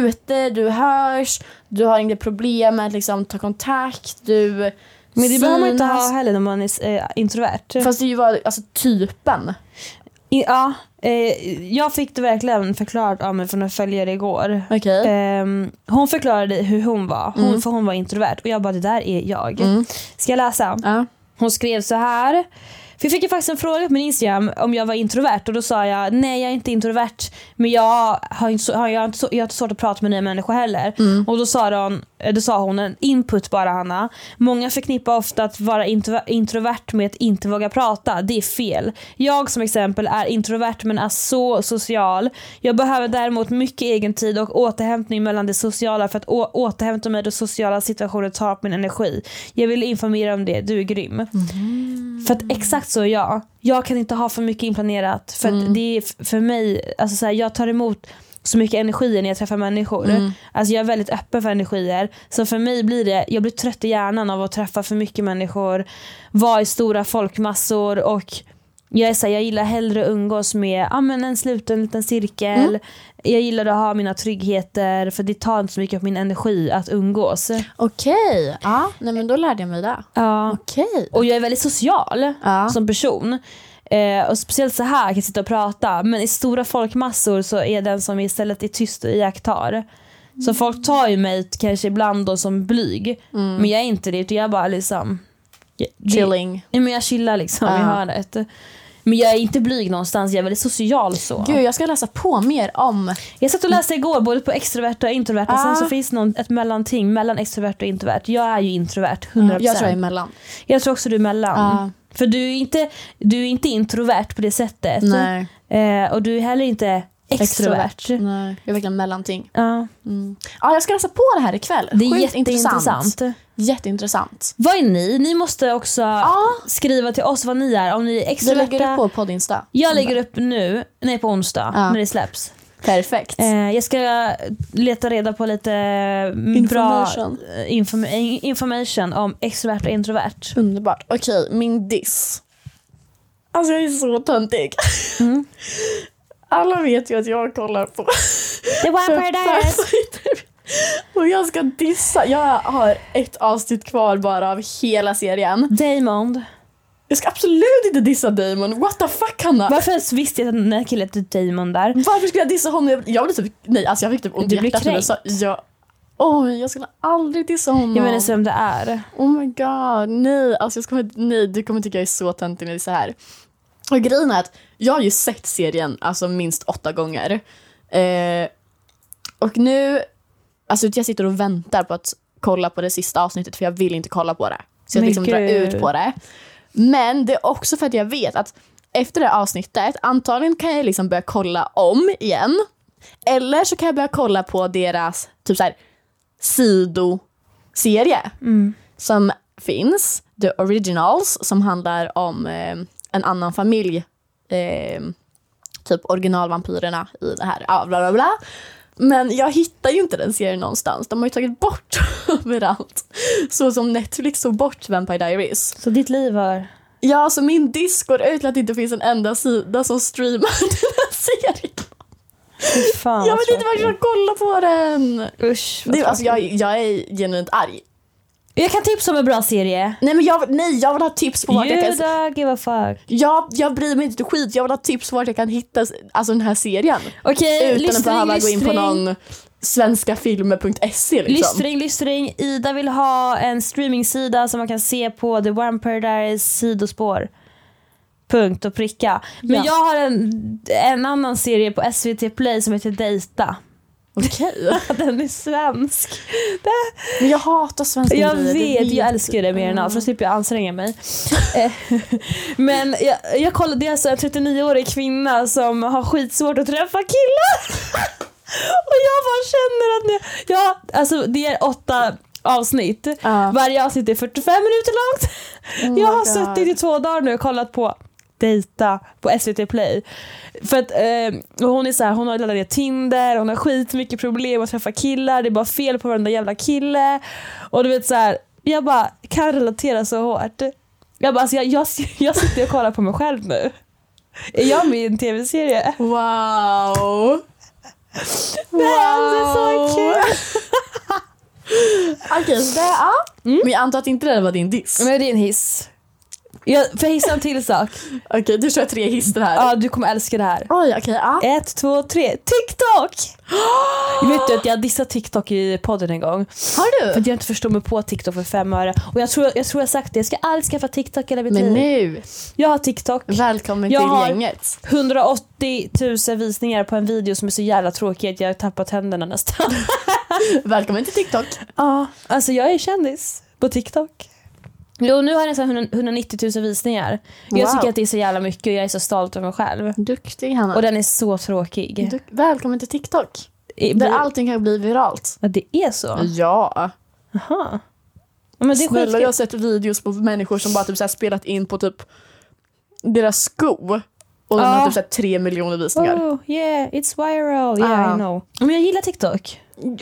[SPEAKER 1] ute, du hörs, du har inga problem med att liksom ta kontakt, du
[SPEAKER 2] Men det behöver man inte
[SPEAKER 1] synas.
[SPEAKER 2] ha heller när man är eh, introvert.
[SPEAKER 1] Fast det är ju bara alltså, typen.
[SPEAKER 2] I, ja, eh, jag fick det verkligen förklarat av mig från en följare igår.
[SPEAKER 1] Okej.
[SPEAKER 2] Ehm, hon förklarade hur hon var, hon,
[SPEAKER 1] Mm.
[SPEAKER 2] för hon var introvert och jag bara det där är jag.
[SPEAKER 1] Mm.
[SPEAKER 2] Ska jag läsa?
[SPEAKER 1] Ja.
[SPEAKER 2] Hon skrev så här. För jag fick ju faktiskt en fråga på min Instagram om jag var introvert och då sa jag nej jag är inte introvert men jag har inte, så- har- jag har inte, så- jag har inte svårt att prata med nya människor heller. Och då sa, hon, eh, då sa hon en input bara Hanna. Många förknippar ofta att vara intro, introvert med att inte våga prata. Det är fel. Jag som exempel är introvert men är så social. Jag behöver däremot mycket egen tid och återhämtning mellan det sociala för att å- återhämta mig då sociala situationer tar på min energi. Jag vill informera om det, du är grym. För att exakt så är jag. Jag kan inte ha för mycket inplanerat. För att det är f- för mig, alltså så här, jag tar emot så mycket energi när jag träffar människor. Alltså jag är väldigt öppen för energier. Så för mig blir det, jag blir trött i hjärnan av att träffa för mycket människor, vara i stora folkmassor och jag, är så här, jag gillar hellre att umgås med ja, men en sluten liten cirkel. Jag gillar att ha mina tryggheter för det tar inte så mycket av min energi att umgås.
[SPEAKER 1] Okej. Ja, nej men då lärde jag mig det.
[SPEAKER 2] Ja.
[SPEAKER 1] Okej.
[SPEAKER 2] Och jag är väldigt social
[SPEAKER 1] Ja.
[SPEAKER 2] som person. Eh, och speciellt så här kan jag sitta och prata men i stora folkmassor så är den som istället är tyst och iakttar.
[SPEAKER 1] Mm.
[SPEAKER 2] Så folk tar ju mig kanske ibland då som blyg men jag är inte det utan jag bara liksom... jag- det-
[SPEAKER 1] Chilling.
[SPEAKER 2] Nej men jag chillar liksom i
[SPEAKER 1] Ja.
[SPEAKER 2] hörnet. Men jag är inte blyg någonstans, jag är väldigt social så.
[SPEAKER 1] Gud, jag ska läsa på mer om...
[SPEAKER 2] Jag satt och läste igår både på extroverta och introverta, sen
[SPEAKER 1] Ah.
[SPEAKER 2] så finns det någon, ett mellanting mellan extrovert och introvert. Jag är ju introvert, 100%.
[SPEAKER 1] Mm, Jag tror jag är emellan.
[SPEAKER 2] Mm, Jag tror också du är mellan.
[SPEAKER 1] Ah.
[SPEAKER 2] För du är, inte, du är inte introvert på det sättet.
[SPEAKER 1] Nej. Mm.
[SPEAKER 2] Eh, och du är heller inte extrovert.
[SPEAKER 1] Nej. Jag är verkligen mellanting.
[SPEAKER 2] Ja,
[SPEAKER 1] Mm. Ja, jag ska läsa på det här ikväll.
[SPEAKER 2] det är
[SPEAKER 1] Sjukt
[SPEAKER 2] jätteintressant.
[SPEAKER 1] intressant. Jätteintressant.
[SPEAKER 2] Vad är ni? Ni måste också skriva till oss vad ni är. Om ni är
[SPEAKER 1] Vi lägger
[SPEAKER 2] extroverta.
[SPEAKER 1] upp på poddinsta.
[SPEAKER 2] jag lägger upp nu, nej på onsdag,
[SPEAKER 1] Ja.
[SPEAKER 2] när det släpps.
[SPEAKER 1] Perfekt.
[SPEAKER 2] Eh, jag ska leta reda på lite mm,
[SPEAKER 1] Information.
[SPEAKER 2] bra eh, inform eh, information om extrovert och introvert.
[SPEAKER 1] Underbart. Okej, min diss. Alltså jag är så töntig.
[SPEAKER 2] Mm.
[SPEAKER 1] Alla vet ju att jag kollar på
[SPEAKER 2] The One Paradise!
[SPEAKER 1] Parasite. Och jag ska dissa. Jag har ett avsnitt kvar bara av hela serien.
[SPEAKER 2] Damond.
[SPEAKER 1] Jag ska absolut inte dissa Damon. What the fuck Hanna?
[SPEAKER 2] Varför ens visste jag att den här killen hette Damon där?
[SPEAKER 1] Varför skulle jag dissa honom? Jag- Jag blev typ, nej alltså jag fick typ ont i
[SPEAKER 2] Du blev
[SPEAKER 1] hjärtat när du sa ja. Oj, jag skulle aldrig dissa honom.
[SPEAKER 2] Jag menar så vem det är.
[SPEAKER 1] Oh my god, nej. Alltså jag ska, nej, du kommer tycka jag är så töntig när det är så här. Och grejen är att jag har ju sett serien alltså minst åtta gånger. Eh, och nu, alltså jag sitter och väntar på att kolla på det sista avsnittet för jag vill inte kolla på det. Så jag
[SPEAKER 2] Men
[SPEAKER 1] liksom drar
[SPEAKER 2] gud.
[SPEAKER 1] ut på det. Men det är också för att jag vet att efter det här avsnittet, antagligen kan jag liksom börja kolla om igen. Eller så kan jag börja kolla på deras typ så här, sidoserie som finns, The Originals, som handlar om eh, en annan familj. Eh, typ originalvampyrerna i det här. Ah, bla, bla, bla. Men jag hittar ju inte den serien någonstans. De har ju tagit bort överallt. Så som Netflix tog bort Vampire Diaries.
[SPEAKER 2] Så ditt liv har...
[SPEAKER 1] Ja, så min disk går ut till att det inte finns en enda sida som streamar den här serien.
[SPEAKER 2] Fy Fan,
[SPEAKER 1] jag
[SPEAKER 2] vad
[SPEAKER 1] vet inte varför jag
[SPEAKER 2] tråkigt.
[SPEAKER 1] kollar på den.
[SPEAKER 2] Usch, vad
[SPEAKER 1] Det, alltså,
[SPEAKER 2] tråkigt.
[SPEAKER 1] jag, jag är genuint arg.
[SPEAKER 2] Jag kan tipsa om en bra serie.
[SPEAKER 1] Nej, men jag, nej, jag vill ha tips på vart jag kan...
[SPEAKER 2] Juda, give a fuck.
[SPEAKER 1] Jag, jag bryr mig inte ett skit, jag vill ha tips på vart jag kan hitta alltså, den här serien.
[SPEAKER 2] Okej,
[SPEAKER 1] Utan att
[SPEAKER 2] lystring,
[SPEAKER 1] behöva gå in på
[SPEAKER 2] lystring.
[SPEAKER 1] någon svenskafilmer.se liksom.
[SPEAKER 2] Lystring, lystring. Ida vill ha en streamingsida som man kan se på The One Paradise sidospår. Punkt och pricka. Men
[SPEAKER 1] Ja.
[SPEAKER 2] jag har en, en annan serie på SVT Play som heter Dejta.
[SPEAKER 1] Okej.
[SPEAKER 2] Den är svensk.
[SPEAKER 1] Men jag hatar svenska
[SPEAKER 2] Jag
[SPEAKER 1] grejer, det
[SPEAKER 2] vet, jag älskar det mer än allt för då slipper jag anstränga mig. Eh, Men jag, jag kollade, det är alltså en 39-årig kvinna som har skitsvårt att träffa killar. Och jag bara känner att när- jag, alltså det är åtta avsnitt.
[SPEAKER 1] Ja.
[SPEAKER 2] Varje avsnitt är 45 minuter långt.
[SPEAKER 1] Oh
[SPEAKER 2] jag har
[SPEAKER 1] my God.
[SPEAKER 2] suttit i två dagar nu och kollat på Dejta på SVT Play. För att eh, och hon är så här, hon har laddat ner Tinder, hon har skitmycket problem att träffa killar, det är bara fel på varenda jävla kille. Och du vet så här, jag bara kan relatera så hårt. Jag bara, alltså jag, jag, jag sitter och kollar på mig själv nu. Är jag med i en tv-serie?
[SPEAKER 1] Wow.
[SPEAKER 2] Det här är så kul!
[SPEAKER 1] Okej, så det, ja.
[SPEAKER 2] Mm.
[SPEAKER 1] Men jag antar att inte det var din diss.
[SPEAKER 2] Men det är en hiss. Jag får hissa en till sak.
[SPEAKER 1] Okej, du kör tre hister här.
[SPEAKER 2] Ja, du kommer älska det här.
[SPEAKER 1] Oj, okej. ja.
[SPEAKER 2] Ett, två, tre. TikTok! Vet du att jag dissade TikTok i podden en gång.
[SPEAKER 1] Har
[SPEAKER 2] För
[SPEAKER 1] du?
[SPEAKER 2] att jag inte förstår mig på TikTok för fem öre. Och jag tror jag tror jag sagt det, jag ska aldrig skaffa TikTok i hela mitt
[SPEAKER 1] Men
[SPEAKER 2] liv.
[SPEAKER 1] nu,
[SPEAKER 2] Jag har TikTok.
[SPEAKER 1] välkommen
[SPEAKER 2] Jag
[SPEAKER 1] till
[SPEAKER 2] har-
[SPEAKER 1] gänget.
[SPEAKER 2] 180 000 visningar på en video som är så jävla tråkig att jag har tappat händerna nästan.
[SPEAKER 1] Välkommen till TikTok.
[SPEAKER 2] Ja, alltså jag är kändis på TikTok. Jo, nu har jag nästan 100 190 000 visningar. Jag
[SPEAKER 1] Wow.
[SPEAKER 2] tycker att det är så jävla mycket och jag är så stolt över mig själv.
[SPEAKER 1] Duktig Hanna.
[SPEAKER 2] Och den är så tråkig.
[SPEAKER 1] Du, välkommen till TikTok.
[SPEAKER 2] Det
[SPEAKER 1] Där allting kan bli viralt.
[SPEAKER 2] Ja, det är så?
[SPEAKER 1] Ja.
[SPEAKER 2] Jaha. Ja, Men det är
[SPEAKER 1] Snälla, jag har sett
[SPEAKER 2] skitkul.
[SPEAKER 1] videos på människor som bara typ så här spelat in på typ deras sko. Och de
[SPEAKER 2] Ja.
[SPEAKER 1] har typ så här tre miljoner visningar.
[SPEAKER 2] Oh yeah, it's viral. Yeah
[SPEAKER 1] Ah.
[SPEAKER 2] I know. Men jag gillar TikTok.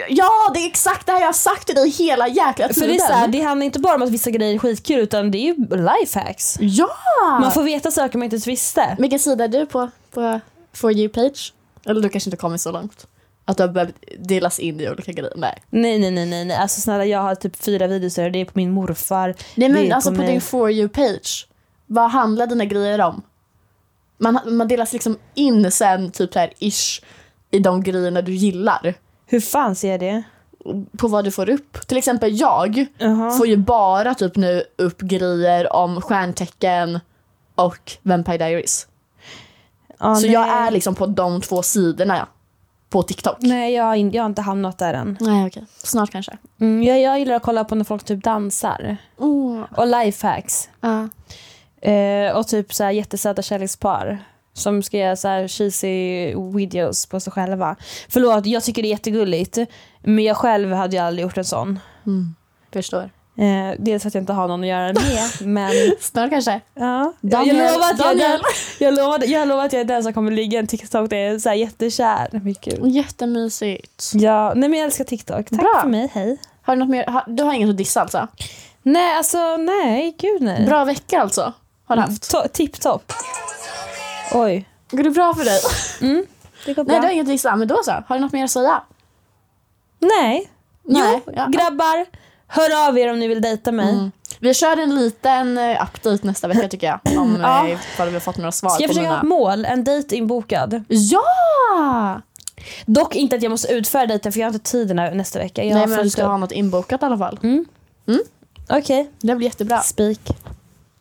[SPEAKER 1] Ja, det är exakt det här jag har sagt till dig hela jäkla
[SPEAKER 2] För
[SPEAKER 1] tiden.
[SPEAKER 2] det, är så här, det handlar inte bara om att vissa grejer är skitkul utan det är ju lifehacks.
[SPEAKER 1] Ja!
[SPEAKER 2] Man får veta saker man inte ens visste.
[SPEAKER 1] Vilken sida är du på? På For you-page? Eller du kanske inte kommit så långt? Att du har behövt delas in i olika grejer? Nej.
[SPEAKER 2] Nej nej nej nej nej. Alltså snälla jag har typ fyra videos där det är på min morfar.
[SPEAKER 1] Nej
[SPEAKER 2] det
[SPEAKER 1] men
[SPEAKER 2] är
[SPEAKER 1] alltså på,
[SPEAKER 2] mig.
[SPEAKER 1] din For you-page, vad handlar dina grejer om? Man, man delas liksom in sen typ så här ish i de grejerna du gillar.
[SPEAKER 2] Hur fan ser jag det?
[SPEAKER 1] På vad du får upp. Till exempel jag
[SPEAKER 2] Jaha.
[SPEAKER 1] får ju bara typ nu upp grejer om stjärntecken och Vampire Diaries.
[SPEAKER 2] Ja,
[SPEAKER 1] så
[SPEAKER 2] nej.
[SPEAKER 1] jag är liksom på de två sidorna på TikTok.
[SPEAKER 2] Nej, jag har, in, jag har inte hamnat där än.
[SPEAKER 1] Nej, okej. Snart kanske.
[SPEAKER 2] Mm, jag, jag gillar att kolla på när folk typ dansar.
[SPEAKER 1] Mm.
[SPEAKER 2] Och lifehacks.
[SPEAKER 1] Ja.
[SPEAKER 2] Eh, och typ så här jättesöta kärlekspar som ska göra så här cheesy videos på sig själva. Förlåt, jag tycker det är jättegulligt. Men jag själv hade ju aldrig gjort en sån.
[SPEAKER 1] Mm. Förstår.
[SPEAKER 2] Eh, dels för att jag inte har någon att göra det med, men
[SPEAKER 1] Snart kanske.
[SPEAKER 2] ja. Jag,
[SPEAKER 1] Daniel,
[SPEAKER 2] jag, lovar att jag, är den,
[SPEAKER 1] Daniel.
[SPEAKER 2] jag, lovar, jag lovar att jag är den som kommer ligga i en TikTok där jag är så här jättekär. Men gud.
[SPEAKER 1] Jättemysigt.
[SPEAKER 2] Ja, nej men jag älskar TikTok. Tack
[SPEAKER 1] Bra.
[SPEAKER 2] för mig, hej.
[SPEAKER 1] Har du något mer? har- Du har ingen att dissa alltså?
[SPEAKER 2] Nej, alltså nej, gud nej.
[SPEAKER 1] Bra vecka alltså? Har du haft?
[SPEAKER 2] To- Tipptopp. Oj.
[SPEAKER 1] Går det bra för dig?
[SPEAKER 2] Det går bra.
[SPEAKER 1] Nej, du har inget att dissa. Men då så. Har du något mer att säga?
[SPEAKER 2] Nej.
[SPEAKER 1] Nej.
[SPEAKER 2] Jo,
[SPEAKER 1] Ja.
[SPEAKER 2] grabbar. Hör av er om ni vill dejta mig.
[SPEAKER 1] Mm. Vi kör en liten eh, update nästa vecka tycker jag. Om
[SPEAKER 2] Ja.
[SPEAKER 1] ja. ifall vi har fått några svar
[SPEAKER 2] Ska jag
[SPEAKER 1] på
[SPEAKER 2] försöka ha
[SPEAKER 1] mina...
[SPEAKER 2] ett mål? En dejt inbokad.
[SPEAKER 1] Ja!
[SPEAKER 2] Dock inte att jag måste utföra dejten för jag har inte tid den här nästa vecka. Jag
[SPEAKER 1] Nej
[SPEAKER 2] har
[SPEAKER 1] men du
[SPEAKER 2] fullt
[SPEAKER 1] ska
[SPEAKER 2] upp.
[SPEAKER 1] ha något inbokat i alla fall.
[SPEAKER 2] Okej,
[SPEAKER 1] Det blir jättebra.
[SPEAKER 2] spik.